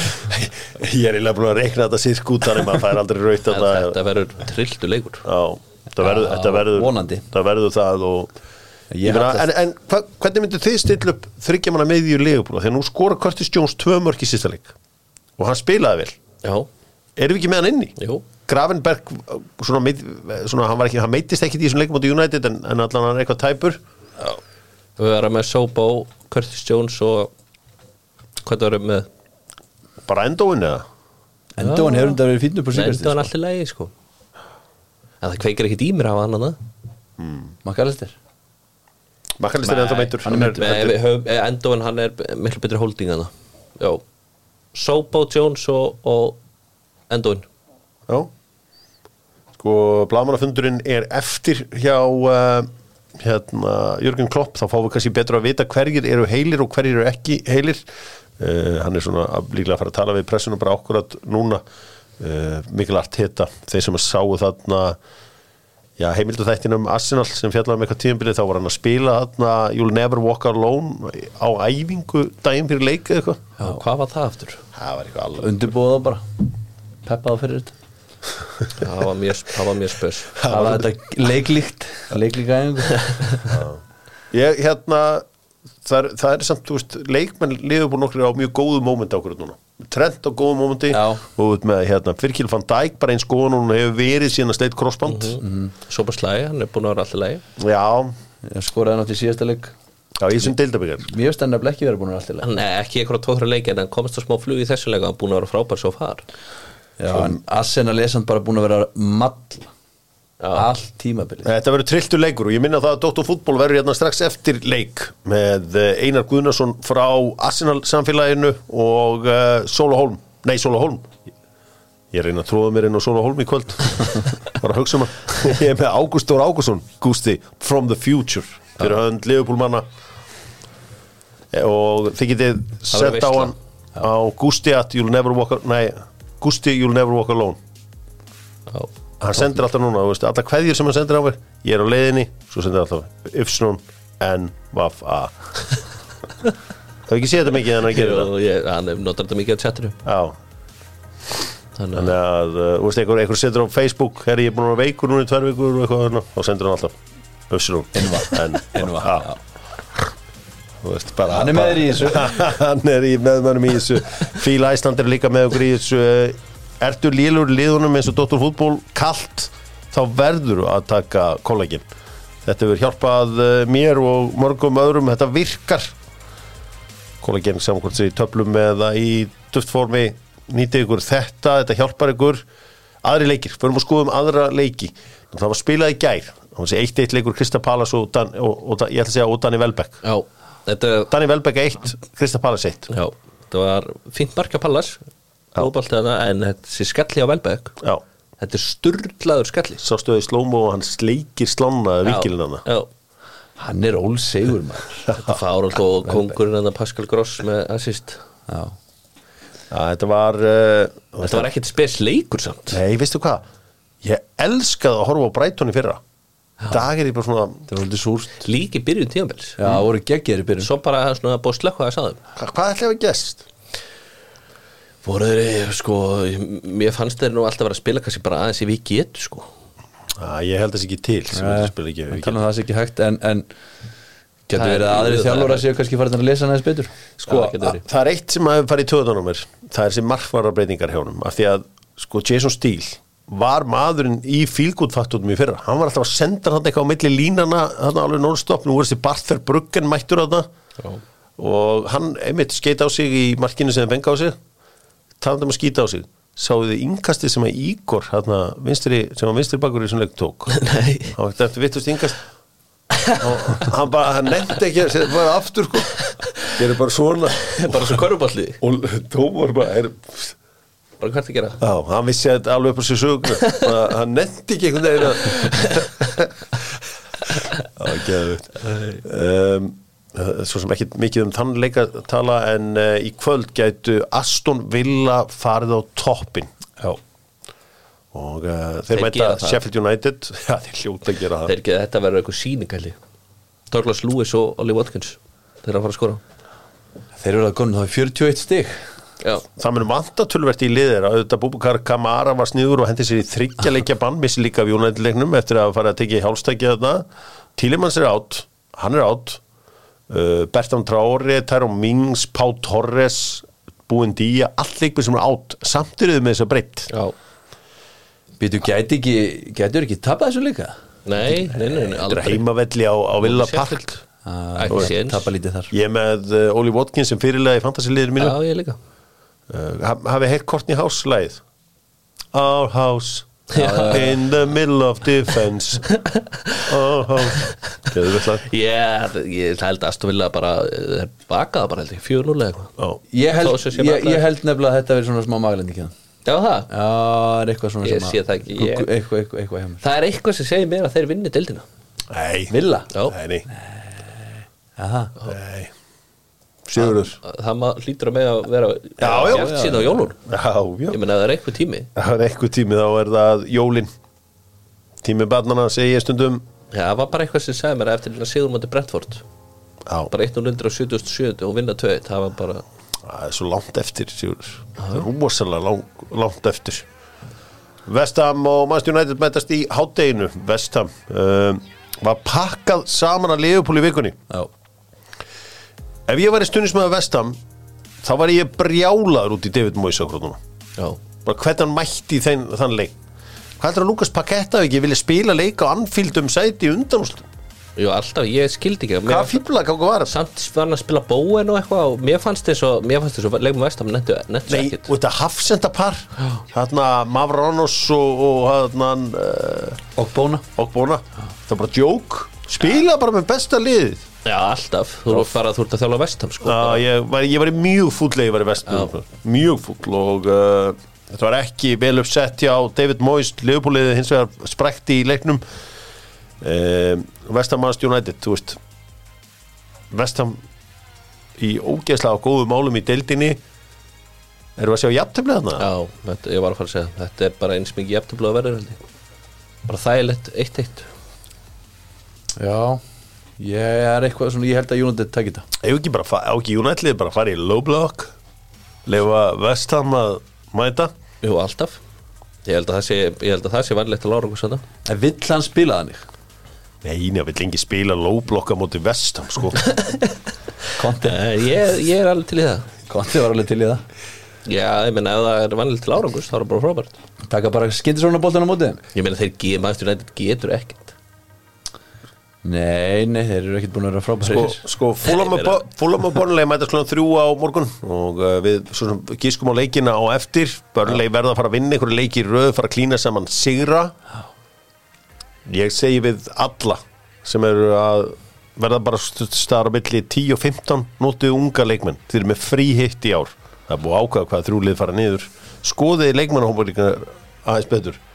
[SPEAKER 1] ég er eiginlega búin að reikna þetta sirkútan en maður fær aldrei raut
[SPEAKER 2] En Þetta
[SPEAKER 1] þetta
[SPEAKER 2] verður trilltu leikur
[SPEAKER 1] Já, þetta verður,
[SPEAKER 3] Já,
[SPEAKER 1] þetta verður
[SPEAKER 3] vonandi.
[SPEAKER 1] það verður það og
[SPEAKER 3] Ég
[SPEAKER 1] Ég meina,
[SPEAKER 3] hallast-
[SPEAKER 1] en, en hva, hvernig myndu þið stilla upp þryggja manna með í legubúla þegar nú skora Curtis Jones tvö mörk í sista leik og hann spilaði vel
[SPEAKER 2] Já,
[SPEAKER 1] erum við ekki með hann inni?
[SPEAKER 2] Jú.
[SPEAKER 1] Gravenberg, svona, meidd- svona hann, var ekki, hann meittist ekkit í þessum leikum á United en, en allan hann er eitthvað tæpur
[SPEAKER 2] við verðum með Sobo, Curtis Jones og Hvað það verður með
[SPEAKER 1] bara endóin eða?
[SPEAKER 3] Endóan hefur þetta verið fínur på
[SPEAKER 2] Nendu
[SPEAKER 3] síkastis
[SPEAKER 2] hann allir lægi, sko En það kveikir ekkert í mér af hann annað
[SPEAKER 3] sko? Makalistir
[SPEAKER 1] Makkalistir er ennþá meittur
[SPEAKER 2] hann er meittur Endóin eh, hann er miklu betri holding hann Já Sobo, Jones og, og Endóin
[SPEAKER 1] Já sko, blamannafundurinn er eftir hjá uh, hérna, Jörgen Klopp, þá fáum við kannski betra að vita hverjir eru heilir og hverjir eru ekki heilir uh, hann er svona að- líklega að fara að tala við pressuna bara ákvörðat núna uh, mikil Arteta, þeir sem að sáu þarna Já, heimildu þættin um Arsenal sem fjallar um eitthvað tíðumbilið þá var hann að spila þarna You'll Never Walk Alone á æfingu daginn fyrir leik eða eitthvað
[SPEAKER 2] Já, hvað var það aftur?
[SPEAKER 1] Það var eitthvað alveg
[SPEAKER 3] undirbúða það bara peppaða fyrir þetta
[SPEAKER 2] Það var mjög, það var mjög spes
[SPEAKER 3] það var þetta leiklíkt leiklíka
[SPEAKER 1] Ég, hérna, það er, það er samt, þú veist, leikmenn liður búin okkur á mjög góðu mómenti okkur núna Trent á góðu mómenti
[SPEAKER 3] Já.
[SPEAKER 1] og út með, hérna, Fyrkil van Dijk bara eins góðan og hún hefur verið síðan að sleit crossband
[SPEAKER 2] Mhm. Svo bara slæði, hann er búin að vera alltaf lægi
[SPEAKER 1] Já,
[SPEAKER 3] ég skoraði nátt í síðasta leik
[SPEAKER 1] já, ég sem deildabikar
[SPEAKER 3] mér finnst hann nefnilega ekki vera búin að vera allt í leik
[SPEAKER 2] Hann er eh, ekki eitthvað tóðra leiki en hann komst á smá flug í þessu leika hann er búin að vera frábær svo far
[SPEAKER 3] já, en Arsenal er samt bara búin að vera mall allt tímabilið
[SPEAKER 1] Þetta verður trilltu leikur og ég minna það að Dóttu fútból verður hérna strax eftir leik með eh, Einar Guðnason frá Arsenal samfélaginu og uh, Sóla Holm, nei Sóla Holm ég reyna að tróða mér inn á Sóla Holm í kvöld bara að hugsa um að ég er með Ágúst Dór Ágússon Gústi from the future fyrir hönd Leifupúlmanna og þið getið
[SPEAKER 2] verður
[SPEAKER 1] sett á
[SPEAKER 2] veisla.
[SPEAKER 1] hann á Gústi at you'll never walk nei, Gústi you'll never walk alone
[SPEAKER 2] Já.
[SPEAKER 1] hann sendir alltaf núna, þú veist, alltaf hverjir sem hann sendir á mér ég er á leiðinni, svo sendir hann alltaf yfsnún, en, vaf, a það er ekki séð þetta mikið en hann gerir það
[SPEAKER 2] Og ég- Hann er- notar þetta mikið á chatinu
[SPEAKER 1] Já,
[SPEAKER 2] Þannig
[SPEAKER 1] þannig að, uh, þú veist, einhver, einhver sendur á Facebook herri, ég er búin að vera veikur núna í tvær vikur og eitthvað þarna, þá sendir hann alltaf yfsnún, en, vaf, en,
[SPEAKER 3] Innva,
[SPEAKER 1] a þú veist, bara
[SPEAKER 3] Hann er með þér í þessu.
[SPEAKER 1] hann er í meðmönum í þessu Fíla Æsland er líka með okkur í þessu Eh, Ertu lélur liðunum eins og Dóttur fútból kalt þá verður að taka kollegin Þetta hefur hjálpað eh, mér og mörgum öðrum, þetta virkar kollegin samkvæmt sér um í töflum eða í duftformi nýtið ykkur þetta, þetta hjálpar ykkur aðri leikir, förum að skoðum aðra leiki það var spilað í gær það var þessi 1-1 leikur Krista Palas og, Dan, og, og, og ég ætla að segja og Dani Velbeck
[SPEAKER 2] að Já, þetta
[SPEAKER 1] Danni Velbæk 1, Krista Pallas 1
[SPEAKER 2] Já, það var fínt marka Pallas Fótboltana, en þessi skalli á Velbæk
[SPEAKER 1] Já,
[SPEAKER 2] Þetta er sturglaður skalli
[SPEAKER 1] sá stöði slómo og hann sleikir slána vikilinn hann
[SPEAKER 2] Já,
[SPEAKER 3] hann er ólsegur maður
[SPEAKER 2] þetta fár alltaf og kongurinn hann Pascal Gross með assist
[SPEAKER 3] já
[SPEAKER 1] Þetta var uh,
[SPEAKER 2] Þetta var ekkit spes leikur samt
[SPEAKER 1] Nei, veistu hvað? Ég elskaði að horfa á Brighton í fyrra Í dag er ég bara svona
[SPEAKER 3] það var svolítið súrt
[SPEAKER 2] Líki byrjun tíðanbils
[SPEAKER 3] já, það voru geggjæri byrjun
[SPEAKER 2] Svo bara svona búið slökka að sáðum
[SPEAKER 1] hva- Hvað ætlaði að gest?
[SPEAKER 2] Voru þeir, sko, mér fannst þeir nú alltaf vera að spila kannski bara aðeins ef við getum, sko
[SPEAKER 1] Ah, ég held þess ekki til sem þetta spil ekki
[SPEAKER 3] Við
[SPEAKER 1] við
[SPEAKER 3] tala um það sé ekki hægt en, en getur
[SPEAKER 2] Það er-
[SPEAKER 3] verið að aðri
[SPEAKER 2] það er-
[SPEAKER 3] þjálfur að séu kannski farin að lesa hann aðeins betur
[SPEAKER 1] Sko,
[SPEAKER 2] Já, það getur
[SPEAKER 1] að-
[SPEAKER 2] verið.
[SPEAKER 1] það er eitt sem hefur farið í töðunum mér Það er sem markvara breytingar hjá honum Af því að, sko, Jason Steele var maðurinn í fílgútfattunum í fyrra hann var alltaf að senda hann eitthvað á milli línana hann alveg non-stop, nú er þessi Bartfer Bruggen mættur að
[SPEAKER 2] Já.
[SPEAKER 1] og hann einmitt skeita á sig í markinu sem þeim fengi á sig talandi um að skýta á sig sáðu þið yngkastið sem að Ígor hérna, vinstri, sem að vinstri bakur í svona leik tók
[SPEAKER 2] Nei.
[SPEAKER 1] hann var eftir vittust yngkast og hann bara, hann nefndi ekki að það var aftur sko ég er bara svona
[SPEAKER 2] Bara svo korfuballi,
[SPEAKER 1] og dómar bara er,
[SPEAKER 2] bara hvað er það að gera?
[SPEAKER 1] á, hann vissi að þetta alveg upp á sér sögnu Bara, hann nefndi ekki einhvern veginn að geðvitt um, eh, svo sem ekki mikið um þann leika tala en uh, í kvöld gætu Aston Villa farið á toppin
[SPEAKER 2] Já
[SPEAKER 1] og uh, þeir,
[SPEAKER 2] Þeir
[SPEAKER 1] mæta
[SPEAKER 2] gera það.
[SPEAKER 1] Sheffield United já, þeir hljóta að gera það
[SPEAKER 2] Þeir ekki að þetta verður eitthvað sýningalli Douglas Lewis og Ollie Watkins Þeir eru að fara að skora
[SPEAKER 3] þeir eru að konu þá í 41 stig
[SPEAKER 2] Já,
[SPEAKER 1] það munum vanta tölvert í liðir að auðvitað Búbukar Kamara var sniður og hendi sér í þryggjaleikja bann, missi líka af Jónættileiknum eftir að fara að tekja í hálstækja þarna Tílimanns er átt, hann er átt uh, Bertram Trári Tæró Mings, Pá Torres Búin Día, allt leikmið sem er átt samt eru þau með þess að breytt
[SPEAKER 2] já
[SPEAKER 3] Býtu, gæti ekki, gætur ekki tappa þessu líka?
[SPEAKER 2] Nei, nei, nei, nei
[SPEAKER 1] Þetta er
[SPEAKER 2] aldrei
[SPEAKER 1] heimavelli á, á Villa Park
[SPEAKER 3] Ah,
[SPEAKER 2] Ekki séns.
[SPEAKER 3] Tappa lítið þar
[SPEAKER 1] Ég er með uh, Óli Watkins sem fyrirlega í fantasiliðir mínu
[SPEAKER 2] Já,
[SPEAKER 1] uh,
[SPEAKER 2] ég líka
[SPEAKER 1] haf- Hafið Eh, heyrt Courtney House lagið Our house In the middle of defense Our house Geður við slag
[SPEAKER 2] Ég, ég held að Aston Villa bara Þeir bakaða bara held ég, 4-0 eða eitthvað
[SPEAKER 1] Já,
[SPEAKER 3] Ég held,
[SPEAKER 2] Þó sem sé
[SPEAKER 3] ég,
[SPEAKER 2] magnaður.
[SPEAKER 3] ég held nefnilega að þetta verið svona smá maglending hérna.
[SPEAKER 2] Já það,
[SPEAKER 3] Já, það er eitthvað svona
[SPEAKER 2] Ég
[SPEAKER 3] sem að-
[SPEAKER 2] sé það ekki,
[SPEAKER 3] Gu-
[SPEAKER 2] ég-
[SPEAKER 3] gu- Eitthvað, eitthvað, eitthvað hjá mér
[SPEAKER 2] það er eitthvað sem segir mér að þeir vinni deildina
[SPEAKER 1] Nei,
[SPEAKER 3] Villa?
[SPEAKER 2] Já,
[SPEAKER 1] nei, nei,
[SPEAKER 3] Jaha
[SPEAKER 1] nei. Sigurður
[SPEAKER 2] það maður hlýtur að með að vera
[SPEAKER 1] Já, já,
[SPEAKER 2] bjart
[SPEAKER 1] já,
[SPEAKER 2] síðan á jólun
[SPEAKER 1] Já, já
[SPEAKER 2] Ég meina það er eitthvað tími
[SPEAKER 1] Það er eitthvað tími þá er það jólin Tími barnana segi ég stundum
[SPEAKER 2] Já, það var bara eitthvað sem segir mér að eftir að sigur mátti Brentford
[SPEAKER 1] Já,
[SPEAKER 2] bara 177 og vinna 2 það var bara
[SPEAKER 1] það er svo langt eftir Sigurður Það er rosalega lang, langt eftir Vestham og Manchester United mætast í hátteginu Vestham um, var pakkað saman að Leopold í vikunni
[SPEAKER 3] Já
[SPEAKER 1] Ef ég væri stundismæður Vestham þá var ég brjálaður út í David Moyes á krónuna
[SPEAKER 2] Já,
[SPEAKER 1] bara hvernig hann mætti í þeim, þann leik hvað heldur að Lukas Paketta ekki vilja spila leika á anfíld um sæti undanústum
[SPEAKER 2] Jú, alltaf, ég skildi ekki
[SPEAKER 1] hvað fýbla gangu var það?
[SPEAKER 2] Samt var hann að spila bóen og eitthvað og mér fannst þess að, mér fannst þess að leikmum vestam nettu, nettu
[SPEAKER 1] Nei,
[SPEAKER 2] ekkert
[SPEAKER 1] og þetta hafsendapar hérna Mavronos og, og hérna uh,
[SPEAKER 3] Og bóna
[SPEAKER 1] og Bona það er bara djók, spila bara með besta liðið
[SPEAKER 2] Já, alltaf, þú eru bara, þú ert að þjálfa vestam sko
[SPEAKER 1] Já, ég var, ég var mjög fúll eða ég var í vestum mjög fúll og uh, þetta var ekki vel uppsett hjá David Moyes liðbúliðið hins vegar sprekti í leiknum um, Vestamannst United, þú veist Vestam í ógeðslega á góðum málum í deildinni erum við að sjá jafntefnið þarna?
[SPEAKER 2] Já, þetta, ég var að fara að segja það. Þetta er bara eins mikið jæftablaða verður held ég Bara þægilegt, eitt eitt
[SPEAKER 3] Já Ég er eitthvað svona, ég held að United takit það
[SPEAKER 1] Ef ekki bara, fa- á ekki United liðið bara að fara í low block lefa Vestam að mæta
[SPEAKER 2] Jú, alltaf Ég held að það sé, ég held að það sé vanlegt að lára okkur svona
[SPEAKER 3] En vill hann spila þannig?
[SPEAKER 1] Nei, ég vil lengi spila low blocka móti Vestam, sko
[SPEAKER 3] Konti
[SPEAKER 2] ég, ég er alveg til í það
[SPEAKER 3] Konti var alveg til í það
[SPEAKER 2] Já, ég meina ef það er vanlegt til árangust þá er það bara frábært
[SPEAKER 3] Taka bara skyndi svona boltan á mótið
[SPEAKER 2] Ég meina þeir ge- maður stjórnættið getur ekkert
[SPEAKER 3] Nei, nei, þeir eru ekkert búin að vera frábæri
[SPEAKER 1] sko, sko Fulham og Bo- Fulham og Burnley mætast klokkan þrjú á morgun og uh, við svo sem gískum á leikina á eftir Burnley verða að fara að vinna einhverju leiki í röð fara að klína saman sigra ég segi við alla sem eru að verða bara starra milli 10 og 15 notið unga leikmenn, þeir eru með frí hitt í ár það er búið að ákvæða hvað þrjúlið fara niður skoðið leikmannahóparíkar aðeins betur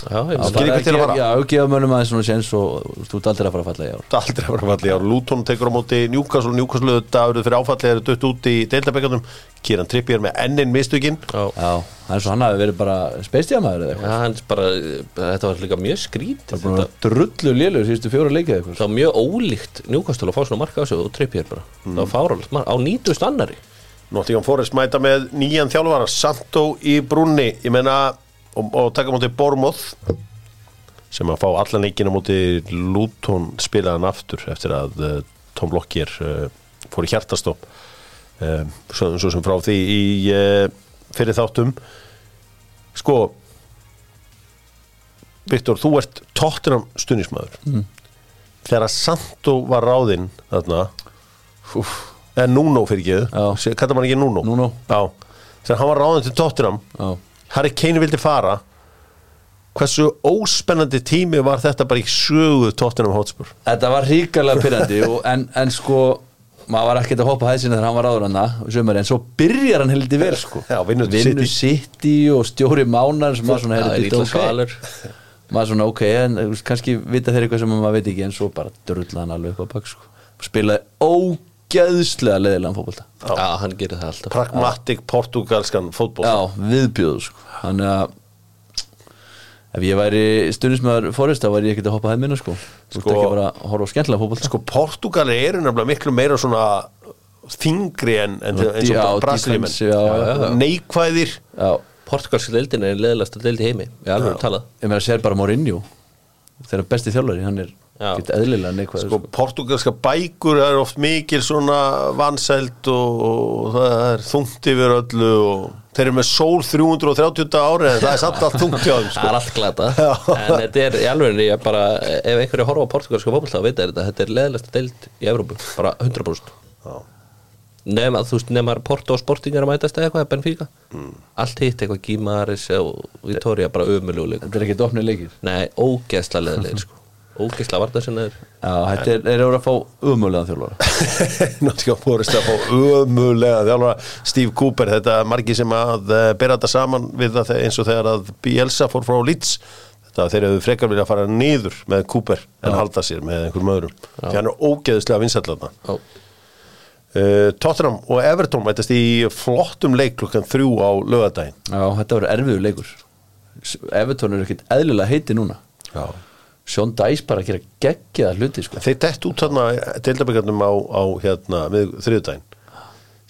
[SPEAKER 2] Já, ég meina
[SPEAKER 1] Skil ekki til að fara.
[SPEAKER 3] Já, og gefa mönnum aðeins svona séns og þú- þú ert aldrei að fara að falla í ár
[SPEAKER 1] Þetta aldrei að vera falli ár Luton tekur á móti Newcastle Newcastle auðvitað eruð fyrir áfallið eru dött út í deildabekkanum Kieran Trippier með ennin mistökin
[SPEAKER 2] Já,
[SPEAKER 3] Já, það er svo hann hafi verið bara speistíðamæður eða
[SPEAKER 2] Já,
[SPEAKER 3] eitthvað
[SPEAKER 2] hann er bara, þetta var líka mjög skrítið
[SPEAKER 3] Búin að
[SPEAKER 2] þetta,
[SPEAKER 3] vera Drullu lélugur síðustu fjóra leikið eða eitthvað
[SPEAKER 2] Það var mjög ólíkt njúkastölu að fá svona marka á sig og trippið bara Það var fáralegt, mark- á nýtust annari
[SPEAKER 1] Nottingham Forest mæta með nýjan þjálfara Santo í brunni ég menna og, og taka á móti Bournemouth sem að fá allan leikina móti Luton spilaðan aftur eftir að uh, Tom Lockyer uh, fór í hjartastopp uh, svo, svo sem frá því í uh, fyrir þáttum sko Viktor, þú ert tóttinam stunismæður
[SPEAKER 3] Mm.
[SPEAKER 1] þegar að Santo var ráðinn þarna Úf. eða Nuno fyrir
[SPEAKER 3] Já.
[SPEAKER 1] ekki kallar maður ekki Nuno,
[SPEAKER 3] Nuno.
[SPEAKER 1] Já. þegar hann var ráðinn til tóttinam
[SPEAKER 3] Já.
[SPEAKER 1] Harry Kane vildi fara hversu óspennandi tími var þetta bara í sögu tóttinam Hotspur
[SPEAKER 3] Þetta var ríkalega pyrrandi en, en sko, maður var ekkert að hoppa hæðsina þegar hann var áður hann það sumari, en svo byrjar hann heldur vel sko
[SPEAKER 1] Já, vinnur
[SPEAKER 3] Vinnur
[SPEAKER 1] City.
[SPEAKER 3] City og stjóri mánar sem maður svona
[SPEAKER 2] Það er
[SPEAKER 3] heldur
[SPEAKER 2] ítla svalur
[SPEAKER 3] maður svona ok, en þú veist, kannski vita þeir eitthvað sem maður veit ekki en svo bara drulla hann alveg upp á bak sko. spilaði ógeðslega leðilegan fótbolta
[SPEAKER 2] Já, hann gerir það alltaf
[SPEAKER 1] pragmatik portugalskan fótból
[SPEAKER 3] Já, viðbjöðu sko Þannig að ef ég væri stundismæður fórist þá væri ég ekkert að hoppa hæðmina sko Þú ert
[SPEAKER 1] Sko-
[SPEAKER 3] ekki bara að horfa á skemmtilega fótbolta
[SPEAKER 1] sko Portugali eru nefnilega miklu meira svona þingri en, en,
[SPEAKER 3] Já,
[SPEAKER 1] eins og
[SPEAKER 3] defense, já, já, já.
[SPEAKER 1] brasileimenn neikvæðir
[SPEAKER 3] Já,
[SPEAKER 2] Portugalski deildin er leðilegast að deildi heimi Ég alveg talað
[SPEAKER 3] ég meira að sér bara Mourinho þeirra besti þjálfari, hann er
[SPEAKER 2] Já.
[SPEAKER 3] ekkert eðlilega neikvæður
[SPEAKER 1] sko,
[SPEAKER 3] sko.
[SPEAKER 1] portugalska bækur það eru oft mikil svona vansælt og, og það er þungt yfir öllu og þeir eru með sól 330 ári en það er samt allt þungt hjá þeim
[SPEAKER 2] Það
[SPEAKER 1] sko.
[SPEAKER 2] er allt glata
[SPEAKER 1] Já.
[SPEAKER 2] En þetta er í alveg ég bara Ef einhverju horfa á portugalska fótboll þá veit þetta Þetta er leðilegast að deild í Evrópu Bara 100%
[SPEAKER 1] Já.
[SPEAKER 2] Nefna, þú veist, nefna Porto og Sportingar að mætast eða eitthvað, Benfica
[SPEAKER 1] Mm.
[SPEAKER 2] Allt hitt, eitthvað Gimaris og Vitoria, bara ömuluguleik
[SPEAKER 3] Þetta er ekkert opnið leikir
[SPEAKER 2] Nei, ógeðslega leðilegir sko ógisla vartarsinnaður
[SPEAKER 3] Já, þetta er, er að fá umöðlega þjálfara
[SPEAKER 1] Nottingham Forest að fá ömulega þjálfara Steve Cooper, þetta er margi sem að eh, bera þetta saman við það eins og þegar að Bielsa fór frá Leeds þetta að þeir hefðu frekar vilja að fara niður með Cooper en halda sér með einhverjum öðrum því hann er ógeðislega vinsætlaðna
[SPEAKER 2] Já,
[SPEAKER 1] uh, Tottenham og Everton mætast í flottum leik klukkan þrjú á lögadaginn
[SPEAKER 3] Já, þetta verður erfiður leikur S- Everton er ekkert eðlilega heiti núna
[SPEAKER 1] Já.
[SPEAKER 3] Sean Dice bara að gera geggjaða hluti sko.
[SPEAKER 1] þeir dett út þarna deildabekarnum á, á hérna, við þriðudaginn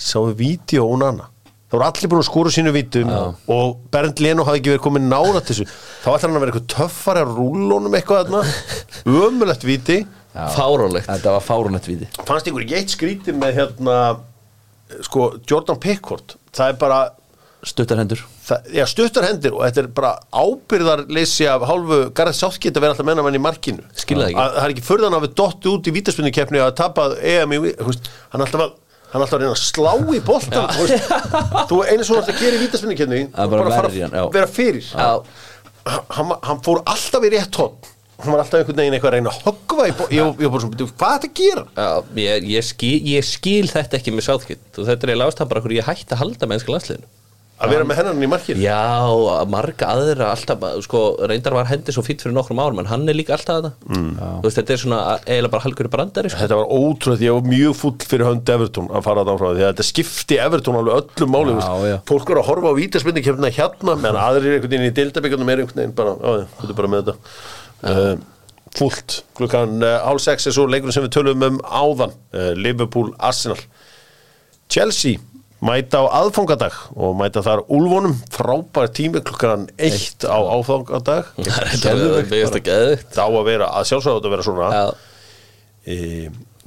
[SPEAKER 1] sáu vídeo og nana það voru allir búin að skóra sínu vítum og Bernd Leno hafði ekki verið komin nála þessu þá ætlar hann að vera eitthvað töffari að rúlunum eitthvað þarna ömulegt víti
[SPEAKER 2] fárálegt
[SPEAKER 3] Þetta var fárunett víti
[SPEAKER 1] fannst ykkur ekki eitt skríti með hérna sko Jordan Pickford það er bara
[SPEAKER 3] Stuttar hendur
[SPEAKER 1] Það, já, stuttar hendir og þetta er bara ábyrðarleysi af hálfu Gareth Southgate að vera alltaf menna mann í markinu
[SPEAKER 2] Skil það ekki.
[SPEAKER 1] Að- Það er ekki furðan að við dotti út í vítaspunnikeppni að tapa EM í, þú veist, hann er alltaf að hann er alltaf að reyna að slá í boltan þú veist. þú eins og þú ert að gera í vítaspunnikeppni
[SPEAKER 3] Það er bara
[SPEAKER 1] bara
[SPEAKER 3] verja hann,
[SPEAKER 1] fara
[SPEAKER 3] já.
[SPEAKER 1] að vera fyrir
[SPEAKER 3] Já.
[SPEAKER 1] hann, hann fór alltaf í rétt hot hann var alltaf einhvern veginn eitthvað að reyna að höggva í boltan ég, ég var bara svona, "Bíddu, hvað er þetta að gera?
[SPEAKER 2] Já, ég, ég, skil, ég skil þetta ekki með sáðkitt og þetta er eiginlega ástæðan bara hverju ég hætti að halda með ennska landsliðinu
[SPEAKER 1] að vera með hennan í markinu
[SPEAKER 2] Já, marga aðra alltaf, sko, reyndar var hendi svo fýtt fyrir nokkrum árum en hann er líka alltaf þetta mm. Þú veist, þetta er svona eiginlega bara halgur brandari sko.
[SPEAKER 1] Þetta var ótrúið, ég var mjög fúll fyrir hönd Everton að fara þann frá því að þetta skipti Everton alveg öllum máli,
[SPEAKER 3] Já,
[SPEAKER 1] þú veist.
[SPEAKER 3] já.
[SPEAKER 1] fólk er að horfa á vítaspindu kemna hérna meðan aðrir einhvern veginn í deildabíkarnum er einhvern veginn bara, já, já, þetta er bara með þetta uh, fúllt, klukkan uh, hálf sex er svo leikurinn sem við tölum um áðan uh, Liverpool Arsenal Chelsea mæta á aðfangadag og mæta þar úlvonum frábær tími klukkan eitt á Eh, áfangadag
[SPEAKER 2] Það er þetta við veist ekki eða
[SPEAKER 1] þá að vera, að sjálfsögðu að vera svona
[SPEAKER 2] Já,
[SPEAKER 1] e,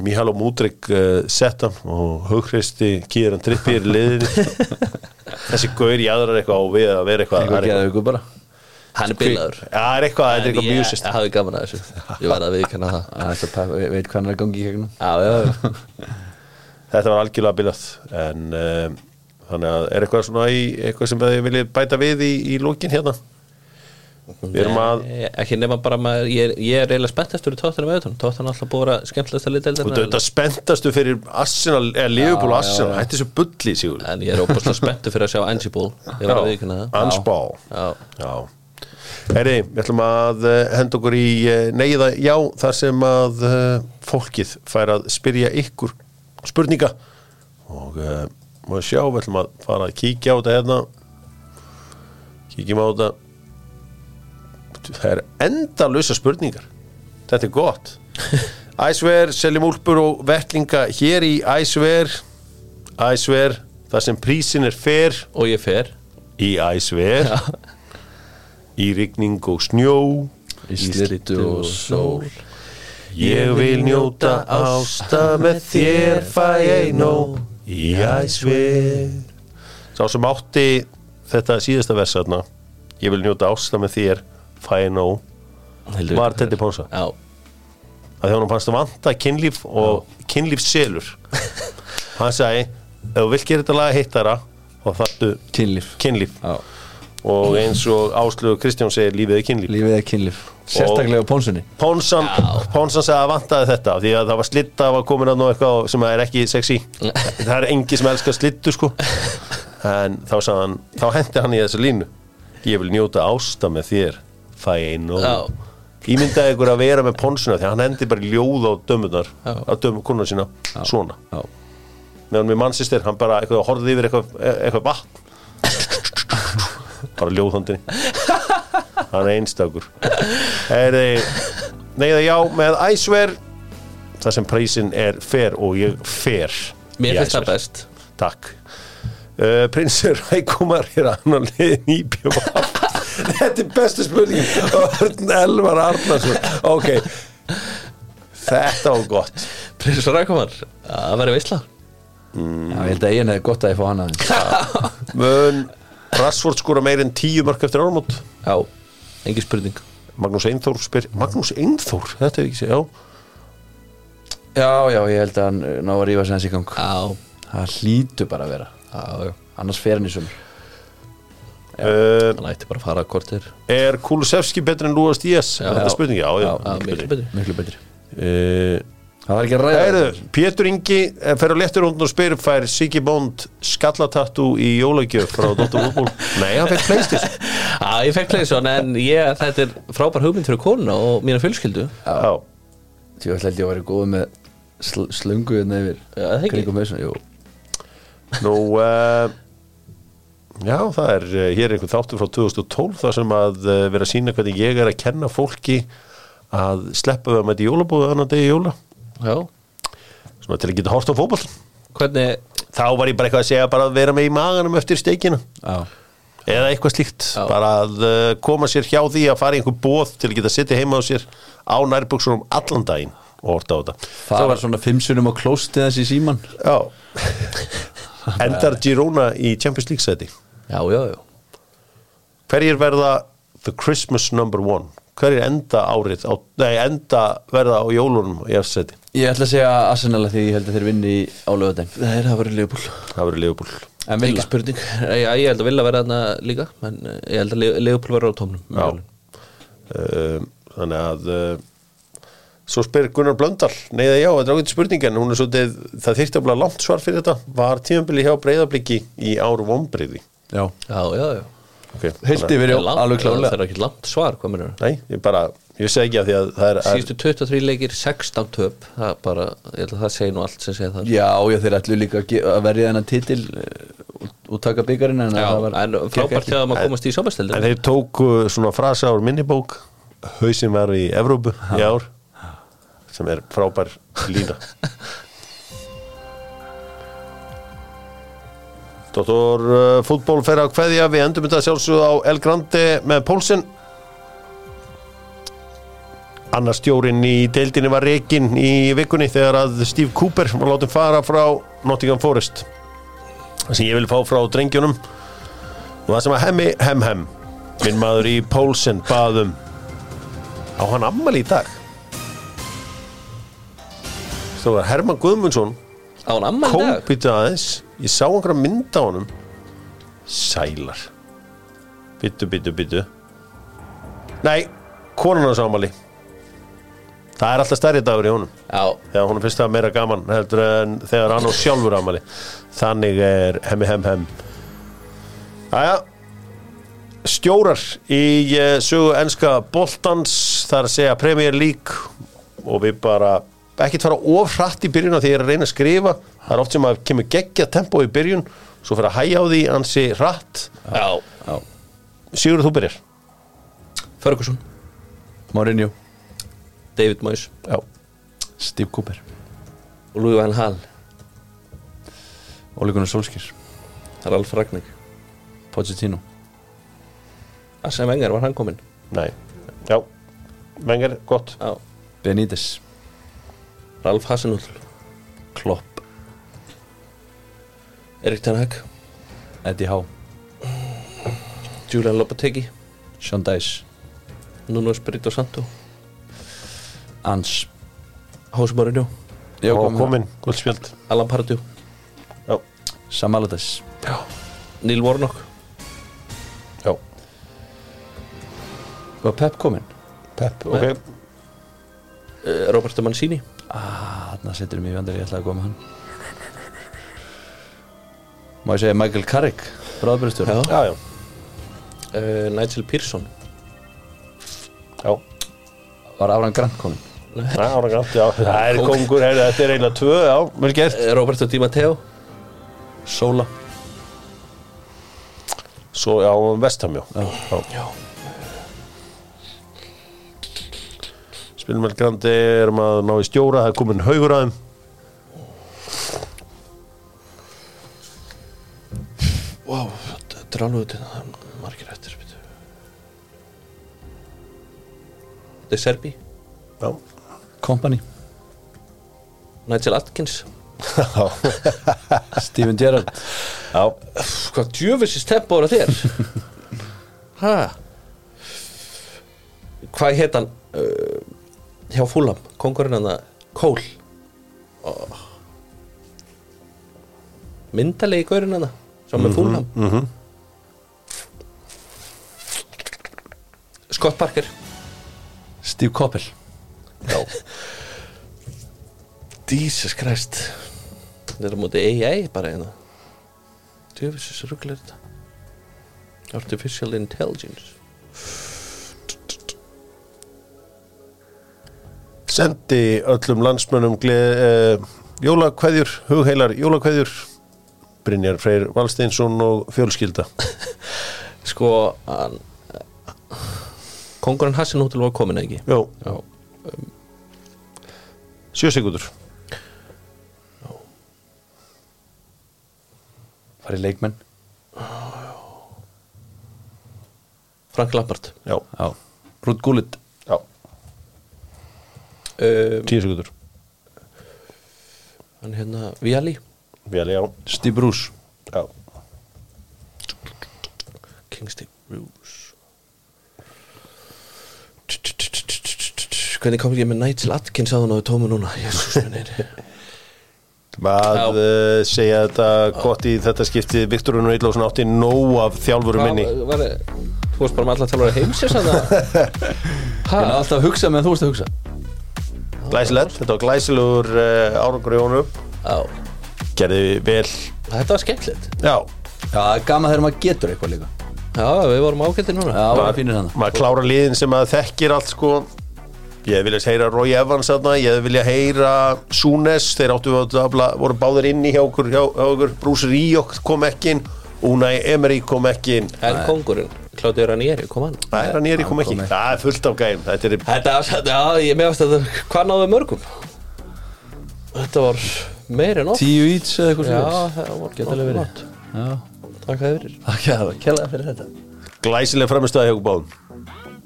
[SPEAKER 1] Mihalo Múdrygg uh, sett hann og hugristi kýðan trippir í liðinni þessi gaur jáðrar eitthvað á við að vera eitthvað það
[SPEAKER 3] Eitthvað
[SPEAKER 1] er
[SPEAKER 3] geða
[SPEAKER 1] eitthvað,
[SPEAKER 3] ykkur bara
[SPEAKER 2] hann Sko, er bilaður
[SPEAKER 1] Já, það er eitthvað, þetta er eitthvað
[SPEAKER 2] En
[SPEAKER 1] mjög
[SPEAKER 2] Ég
[SPEAKER 1] sýst
[SPEAKER 2] hafði gaman að þessu, ég verði að viðkanna það
[SPEAKER 3] Æ, þetta pep- Ég veit hvað hann er að gangi í gegnum
[SPEAKER 2] Já, já, já
[SPEAKER 1] þetta var algjörlega bilað en um, þannig að er eitthvað svona í eitthvað sem þið viljið bæta við í, í lókin hérna við erum að
[SPEAKER 2] Nei, Ekki nema bara maður, ég er, ég er eiginlega spenntastur í tóttanum auðvitað Tóttan alltaf búið að vera skemmtilegast að lita
[SPEAKER 1] og þetta spenntastu fyrir Arsenal, eða Liverpool Arsenal, hætti þessu bulli sigur
[SPEAKER 2] En ég er óbúslega spenntur fyrir að sjá Angie Ball Ég verði að viðkanna það
[SPEAKER 1] Ansbá
[SPEAKER 2] Já.
[SPEAKER 1] Já Herri, við ætlum að eh, henda okkur í eh, neyða já þar sem að eh, fólkið fær að spyrja ykkur spurninga og uh, maður sjá, við ætlum að fara að kíkja á þetta hérna kíkjum á þetta það er endalösa spurningar þetta er gott Æsver, seljum úlpur og vettlinga hér í Æsver Æsver, þar sem prísin er fer
[SPEAKER 2] Og ég fer
[SPEAKER 1] í æsver í rigning og snjó
[SPEAKER 3] Í slittu og sól
[SPEAKER 1] ég vil njóta ásta með þér fæ ég nóg í æsver sá sem átti þetta síðasta versatna ég vil njóta ásta með þér fæ ég nóg var Teddy Ponsa
[SPEAKER 2] Já,
[SPEAKER 1] að því honum fannst að vanta kynlíf og kynlífsselur hann sagði ef þú vilt gera þetta laga hittara þá þartu
[SPEAKER 3] Kynlíf
[SPEAKER 1] kynlíf
[SPEAKER 3] Já.
[SPEAKER 1] og eins og Áslögu Kristján segir lífið er kynlíf
[SPEAKER 3] Lífið er kynlíf Sérstaklega á pónsunni
[SPEAKER 1] Pónsan, Pónsan sagði að vantaði þetta því að það var slitta að var komin að nú eitthvað sem er ekki sexy það er engi sem elskar slittu sko en þá, sagði hann, þá hendi hann í þessa línu ég vil njóta ásta með þér fæ einu
[SPEAKER 2] Já.
[SPEAKER 1] ímyndaði ykkur að vera með Pónsuna því að hann hendi bara ljóð á dömunar á dömur konar sína svona
[SPEAKER 3] Já.
[SPEAKER 1] meðan mér mannsistir hann bara eitthvað horfði yfir eitthvað, eitthvað vatn bara ljóðhandinni hann er einstakur er neyða já með æsver það sem prísin er fer og ég fer
[SPEAKER 2] mér
[SPEAKER 1] í
[SPEAKER 2] finnst það
[SPEAKER 1] Icewear.
[SPEAKER 2] best
[SPEAKER 1] takk uh, prinsur Rækumar er annan liðin í bjöfum þetta er bestu spurning Örn Elvar Arnarsson ok þetta var gott
[SPEAKER 2] Prins Rækumar, það verður veistla
[SPEAKER 3] Já, ég held að ég hefði gott að ég fá hann aðeins
[SPEAKER 1] mun Rassvort skora meir en tíu mörg eftir áramót
[SPEAKER 2] Já, engin spurning
[SPEAKER 1] Magnús Einþór spyr Magnús Einþór, þetta er ekki segja
[SPEAKER 3] Já, já, ég held að hann uh, ná að rífa sér hans í gang
[SPEAKER 2] Já,
[SPEAKER 3] Það hlýtu bara að vera
[SPEAKER 2] já, já
[SPEAKER 3] Annars fer hann í sumur
[SPEAKER 1] uh,
[SPEAKER 2] Hann ætti bara að fara að kortir
[SPEAKER 1] Er Kulusevski betri en Lúast Díaz?
[SPEAKER 2] Já.
[SPEAKER 1] Þetta er spurning, já, já,
[SPEAKER 2] Já, miklu betur.
[SPEAKER 3] miklu betri
[SPEAKER 1] Uh,
[SPEAKER 3] það var ekki að ræða
[SPEAKER 1] Æru, Pétur Ingi eh, fer á léttur hóndun og spyr fær Siggi Bond skallatattu í jólagjöf frá Dóttar Útból Nei, hann fekk pleistis
[SPEAKER 2] Já, ég fekk Playstation en ég, þetta er frábær hugmynd fyrir konuna og mína fjölskyldu
[SPEAKER 1] Já,
[SPEAKER 3] Ég ætla held ég að vera góð með sl slöngu hérna yfir
[SPEAKER 2] Já, það ekki.
[SPEAKER 3] kringum hausinn, jú.
[SPEAKER 1] nú uh, Já, það er eh, hér er einhver þáttur frá 2012 þar sem að uh, vera að sína hvernig ég er að kenna fólki að sleppa við að mæta í jólabúðu annan degi í jóla
[SPEAKER 2] Já,
[SPEAKER 1] svona til að geta hort á fótboll
[SPEAKER 2] hvernig
[SPEAKER 1] Þá var ég bara eitthvað að segja bara að vera með í maganum eftir steikina
[SPEAKER 3] Já.
[SPEAKER 1] eða eitthvað slíkt
[SPEAKER 2] Já.
[SPEAKER 1] bara að uh, koma sér hjá því að fara í einhver bóð til að geta sittið heima á sér á nærbuksunum allan daginn og horta á þetta
[SPEAKER 3] Það var svona fimm sunum á klóstið þessi síman
[SPEAKER 1] Já Endar Girona í Champions League seti
[SPEAKER 2] Já, já, já
[SPEAKER 1] Hverjir verða the Christmas number one Hverjir enda árið á, Nei, enda verða á jólunum í eftir seti
[SPEAKER 3] Ég ætla að segja Arsenal að því ég held að þeir vinni í álöðatæn
[SPEAKER 2] Það er að vera liðbúl
[SPEAKER 1] Það verður Leopold
[SPEAKER 3] En
[SPEAKER 2] Ekki
[SPEAKER 3] Villa
[SPEAKER 2] spurning Já, ég held að vilja vera þarna líka en eh, ég held að liðbúl vera á tómnum um
[SPEAKER 1] Já.
[SPEAKER 2] jólin.
[SPEAKER 1] um, Þannig að um, Svo spyr Gunnar Blöndal Nei það já, þetta er ágætt spurning en hún er svolítið Það þyrfti að blá langt svar fyrir þetta Var tímabili hjá breyðabliki í ár vombriði
[SPEAKER 3] Já
[SPEAKER 2] Já, já, já
[SPEAKER 1] okay,
[SPEAKER 3] Heilt
[SPEAKER 1] þannig að-
[SPEAKER 3] yfir,
[SPEAKER 2] Það
[SPEAKER 3] já,
[SPEAKER 2] er langt-
[SPEAKER 3] alveg
[SPEAKER 2] Það
[SPEAKER 3] klálega
[SPEAKER 2] er ekki langt svar, hvað mennur
[SPEAKER 1] Nei, ég bara, ég segi ekki að því að það er að,
[SPEAKER 2] Síðustu 23 leikir 16 töp Það er bara, ég held að það segi nú allt sem segja það
[SPEAKER 3] Já, já, þeir ætlu líka að ge- að verja þennan titil eh, og, og taka byggarinn en
[SPEAKER 2] Já,
[SPEAKER 3] það var
[SPEAKER 2] en
[SPEAKER 3] gekk
[SPEAKER 2] frábært
[SPEAKER 3] ekki.
[SPEAKER 2] þegar maður komast í sjómasteldur
[SPEAKER 1] En þeir tóku svona frasa úr minnibók Hauðsin var í Evrópu í ár sem er frábær lína Dóttor uh, fútból fer á kveðja við endum þetta sjálfsögðu á El Grande með Pólsin Annar stjórinn í deildinni var rekin í vikunni þegar að Steve Cooper var látið fara frá Nottingham Forest það sem ég vil fá frá drengjunum og það sem að hemmi hem hem minn maður í Pólsen baðum á hann ammali í dag þú var Herman Guðmundsson
[SPEAKER 2] Á hann amman dag
[SPEAKER 1] kópita aðeins ég sá einhverja mynd á honum sælar byttu byttu byttu nei, konan hans ammali það er alltaf stærri dagur í honum
[SPEAKER 2] Já,
[SPEAKER 1] þegar hún finnst það meira gaman heldur en þegar hann á sjálfur ámali þannig er hemmi hemm hemm Æja stjórar í eh, sögu enska boltans þar að segja Premier League og við bara ekkert fara of hratt í byrjun af því ég er að reyna að skrifa það er oft sem að kemur geggja tempo í byrjun svo fyrir að hæja á því ansi hratt
[SPEAKER 2] já,
[SPEAKER 1] Sigurður þú byrjar
[SPEAKER 2] Ferguson,
[SPEAKER 3] Mourinho,
[SPEAKER 2] David Moyes
[SPEAKER 1] Já.
[SPEAKER 3] Steve Cooper
[SPEAKER 2] og Louis Van Hall
[SPEAKER 3] Ole Gunnar Solskjær,
[SPEAKER 2] Ralf Ragnig
[SPEAKER 3] Pochettino
[SPEAKER 2] Assem Enger var hann kominn
[SPEAKER 1] Nei Já Vengar gott
[SPEAKER 2] Já.
[SPEAKER 3] Benítez,
[SPEAKER 2] Ralf Hasenull
[SPEAKER 3] Klopp,
[SPEAKER 2] Erik Ten Hag
[SPEAKER 3] Eddie Howe
[SPEAKER 2] Julian Lopategi
[SPEAKER 3] Sean Dice,
[SPEAKER 2] Nuno Espirito Santo
[SPEAKER 3] Ans
[SPEAKER 2] Jose Mourinho
[SPEAKER 3] Já,
[SPEAKER 1] og
[SPEAKER 3] kominn.
[SPEAKER 1] komin gott spjöld
[SPEAKER 2] Alan Pardew
[SPEAKER 1] Já
[SPEAKER 3] Sam Allardyce
[SPEAKER 2] Neil Warnock
[SPEAKER 1] Já
[SPEAKER 3] Var Pep kominn?
[SPEAKER 1] Pepp Ok
[SPEAKER 2] eh, Roberto Mancini
[SPEAKER 3] Þarna setur mig í vandir, ég ætla að koma hann Má ég segja Michael Carrick, bráðbjörnstjór
[SPEAKER 2] Já.
[SPEAKER 1] Já, já
[SPEAKER 2] uh, Nigel Pearson
[SPEAKER 1] Já,
[SPEAKER 3] Var Áran Grant komin
[SPEAKER 1] Næ, ára grann, já, það er kongur, heyrðu, þetta er eiginlega tvö, já, vel gert.
[SPEAKER 2] uh, Roberto Di Matteo
[SPEAKER 3] Sola
[SPEAKER 1] Svo, já, vestam, já. já. já. Spilum vel grandi, erum að ná í stjóra, það er komin haugur aðeim.
[SPEAKER 2] Wow, dráluðu til það er margir eftir byrju. De Serbi
[SPEAKER 1] Já.
[SPEAKER 3] Company
[SPEAKER 2] Nigel Atkins
[SPEAKER 3] Steven Gerrard
[SPEAKER 1] Já,
[SPEAKER 2] Pff, Hvað djöfisist tempo er að þér? Hæ? Hvað heit hann? Uh, hjá Fúlam, kongurinn hann að Oh. Kól oh. Myndalegi gaurinn hann að Svo með Fúlam Scott Parker
[SPEAKER 3] Steve Coppel
[SPEAKER 2] Jesus Christ Þetta er á móti AI bara hérna Djöfisins rugglar þetta Artificial Intelligence
[SPEAKER 1] sendi öllum landsmönnum gleð, uh, jólakveðjur, hugheilar jólakveðjur Brynjar Freyr Valsteinsson og fjölskylda
[SPEAKER 2] Sko hann, Kongurinn Hassinhóttil var komin eða ekki
[SPEAKER 1] Jó,
[SPEAKER 2] Já
[SPEAKER 1] sjö sekundur
[SPEAKER 3] farið leikmenn
[SPEAKER 2] Frank Lampard
[SPEAKER 1] Já,
[SPEAKER 3] Já. Rúd Gullit
[SPEAKER 1] já,
[SPEAKER 2] um,
[SPEAKER 1] tíu sekundur
[SPEAKER 2] Hann hérna Viali
[SPEAKER 1] Vel, já,
[SPEAKER 3] Steve Bruce
[SPEAKER 1] já
[SPEAKER 2] Kingsley Bruce Hvernig kom ég með Nigel Atkins að hún á tómi núna? Jésús minnir
[SPEAKER 1] Maður uh, segja þetta gott í þetta skiptið Viktorun Eidlófsson átti nóg af þjálfurum minni
[SPEAKER 2] var, Þú varst bara með alla þjálfara heimsins að það
[SPEAKER 3] Ég er alltaf að hugsa meðan þú veist að hugsa
[SPEAKER 1] Glæsilegt, þetta var glæsilegur uh, árangur í honum
[SPEAKER 2] Já,
[SPEAKER 1] Gerði vel,
[SPEAKER 2] þetta var skemmtilegt
[SPEAKER 1] já
[SPEAKER 3] Já, það er gaman þegar maður getur eitthvað líka Já,
[SPEAKER 2] Já, við vorum ágættir núna
[SPEAKER 3] það var fínir hann
[SPEAKER 1] maður klára liðin sem að þekkir allt sko ég hefði viljað heyra Roy Evans þarna, ég hefði viljað heyra Súnes, þeir áttu að afla, voru báðir inni hjá okkur, hjá, hjá okkur Bruce Ríok kom ekki inn, Unai Emery kom ekki inn
[SPEAKER 2] En kongurinn, Kláttið Ranieri, kom hann
[SPEAKER 1] Nei, hann er kom ekki,
[SPEAKER 3] kom ekki.
[SPEAKER 1] það er fullt af gæm þetta er,
[SPEAKER 2] Þetta var, já, ég meðast að það Hvað náðu mörgum? Þetta var meira en oft
[SPEAKER 3] Tíu íts eða eitthvað
[SPEAKER 2] Já,
[SPEAKER 3] svona
[SPEAKER 2] það var
[SPEAKER 3] Gæti alveg verið.
[SPEAKER 2] gott.
[SPEAKER 3] Já,
[SPEAKER 2] Takk að fyrir
[SPEAKER 3] það er að kella fyrir þetta
[SPEAKER 1] glæsileg framistæði hjá okkur báðum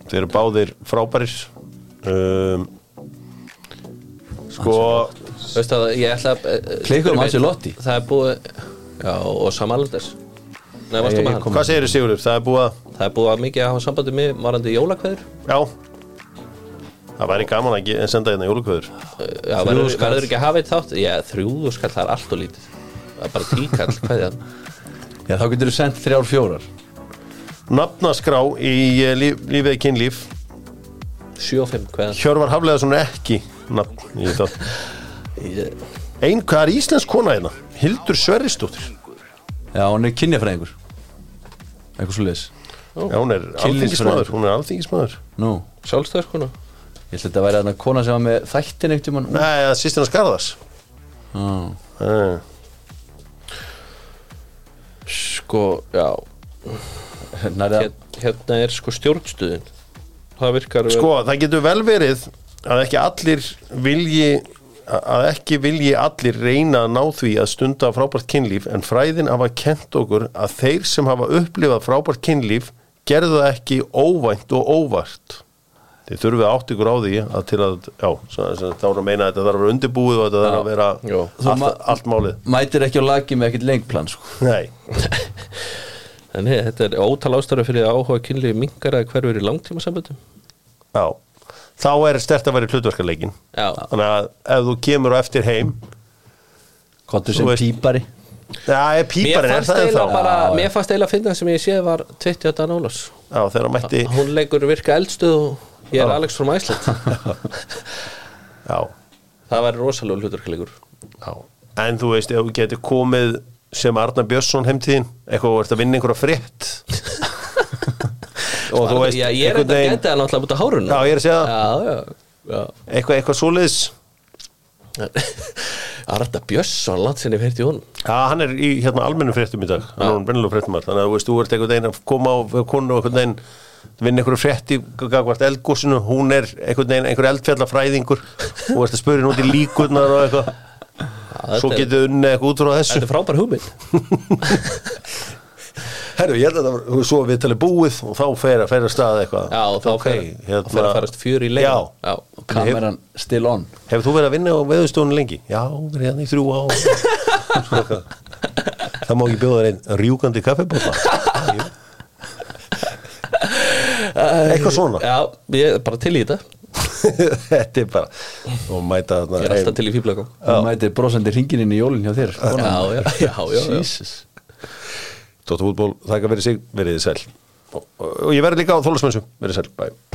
[SPEAKER 1] þeir eru báðir frábærir um, sko
[SPEAKER 2] Veist að ég ætla að eh,
[SPEAKER 3] Klikkar um Ancelotti.
[SPEAKER 2] Það er búið Já, og samanlendis Nei, varstu
[SPEAKER 3] ég
[SPEAKER 2] með hann
[SPEAKER 1] hvað segir þið Sigurður, það er búið að
[SPEAKER 2] Það er búið að mikið að hafa sambandi með varandi jólakveður
[SPEAKER 1] já, það væri gaman að ge- senda hérna jólukvöður
[SPEAKER 2] Já, verður
[SPEAKER 3] skall.
[SPEAKER 2] verður ekki að hafa eitt þátt Já, þrjúðu skall, það er allt og lítið Það er bara tíkall, hvað er
[SPEAKER 3] Já, þá getur þú sendt þrjár fjórar
[SPEAKER 1] nafnaskrá í eh, líf, lífið kynlíf
[SPEAKER 2] 7 og 5, hvað
[SPEAKER 1] Hjörvar Hafleðarsson er ekki nafn í þátt Einn, hvað er íslensk kona hérna? Hildur Sverrisdóttir
[SPEAKER 3] Já, hún er kynjafræðingur Eitthvað svo leis
[SPEAKER 1] Já, hún er alþingismæður Hún er alþingismæður
[SPEAKER 3] Nú,
[SPEAKER 2] Sjálfstæðskona
[SPEAKER 3] ég held að þetta væri að kona sem var með þættin eitt um hann
[SPEAKER 1] Nei, það er sýstina Skarðars Nei.
[SPEAKER 2] Sko, já
[SPEAKER 3] Nærða,
[SPEAKER 2] hér, Hérna er sko stjórnstöðin Það virkar
[SPEAKER 1] Sko, það getur vel verið að ekki allir vilji að ekki vilji allir reyna að ná því að stunda frábært kynlíf en fræðin hafa kent okkur að þeir sem hafa upplifað frábært kynlíf gerðu það ekki óvænt og óvart Þið þurfum að átt ykkur á því að til að, já, svona, svona, þá er að meina að þetta þarf að vera undirbúið og þetta þarf að vera
[SPEAKER 2] Já.
[SPEAKER 3] Þú
[SPEAKER 1] allt,
[SPEAKER 3] ma-
[SPEAKER 1] allt málið.
[SPEAKER 3] mætir ekki á lagi með ekkert lengplan sko.
[SPEAKER 1] Nei,
[SPEAKER 2] En hei, þetta er ótal ástæður fyrir að áhuga kynlífi mingar að hverfur í langtíma samböndum
[SPEAKER 1] já, þá er stert að vera hlutverkarleikin.
[SPEAKER 2] Já.
[SPEAKER 1] Þannig að ef þú kemur á eftir heim,
[SPEAKER 3] Kontur
[SPEAKER 1] Þú
[SPEAKER 3] sem
[SPEAKER 1] veist-
[SPEAKER 3] pípari
[SPEAKER 1] það er
[SPEAKER 2] Mér
[SPEAKER 1] píparinn, er
[SPEAKER 2] fannst
[SPEAKER 1] það ennþá?
[SPEAKER 2] eiginlega bara,
[SPEAKER 3] Já, já.
[SPEAKER 2] mér fannst eiginlega að finna sem ég séð var 20 Dan Ólafs
[SPEAKER 1] Já, þegar hann mætti,
[SPEAKER 2] Hún leikur virka eldstuð og ég er Alex from Iceland
[SPEAKER 1] já,
[SPEAKER 2] Það væri rosalega hluturkleikur
[SPEAKER 1] já. En þú veist, ef þú getur komið sem Arnar Björnsson heimtíðin, eitthvað þú ert að vinna einhverja frétt. og þú veist,
[SPEAKER 2] Já, ég er
[SPEAKER 1] einhvern
[SPEAKER 2] eitthvað
[SPEAKER 1] veginn,
[SPEAKER 2] gætið að náttúrulega búta hárun
[SPEAKER 1] Já, ég er að segja það.
[SPEAKER 2] það Já, já, já
[SPEAKER 1] eitthvað, eitthvað svoleiðis,
[SPEAKER 2] Arda Björnsson, landsinni fyrir til hún
[SPEAKER 1] Já, hann er í hérna almennum fréttum í dag hann er hann brennilega fréttum þannig að þú veist, þú ert einhvern veginn að koma á konu og einhvern veginn vinna einhverju frétti gagvart eldgósinu, hún er einhvern veginn einhverju eldfjallafræðingur og ert að spura henni út í líkurnar og eitthvað svo
[SPEAKER 2] þetta er-
[SPEAKER 1] getur unni eitthvað út frá þessu
[SPEAKER 2] Þetta er frábær hugmynd
[SPEAKER 1] Herru, ég held að það var svo við talið búið og þá fer að fer að staða eitthvað
[SPEAKER 2] Já, þá
[SPEAKER 1] Ok,
[SPEAKER 2] fer,
[SPEAKER 1] hérna-
[SPEAKER 2] þá fer að farast fjör í leik
[SPEAKER 1] Já,
[SPEAKER 2] já.
[SPEAKER 3] Kameran still on
[SPEAKER 1] hefur þú verið að vinna á veðustónu lengi? Já, verið hann í þrjú á Það má ekki bjóða þér einn rjúkandi kaffibóta Eitthvað svona
[SPEAKER 2] Já, ég er bara til í þetta
[SPEAKER 1] Þetta er bara og mæta þarna
[SPEAKER 2] Ég er alltaf
[SPEAKER 1] heim.
[SPEAKER 2] til í fýblagum
[SPEAKER 3] Þú mætir brosandi hringin inn í jólinn hjá þér
[SPEAKER 2] Já, já, já, já, já.
[SPEAKER 3] Jesus
[SPEAKER 1] Dóttar fútból, þakka fyrir sig, verið þið sæl og, og ég verði líka á þólusmessu verið sæl, bæ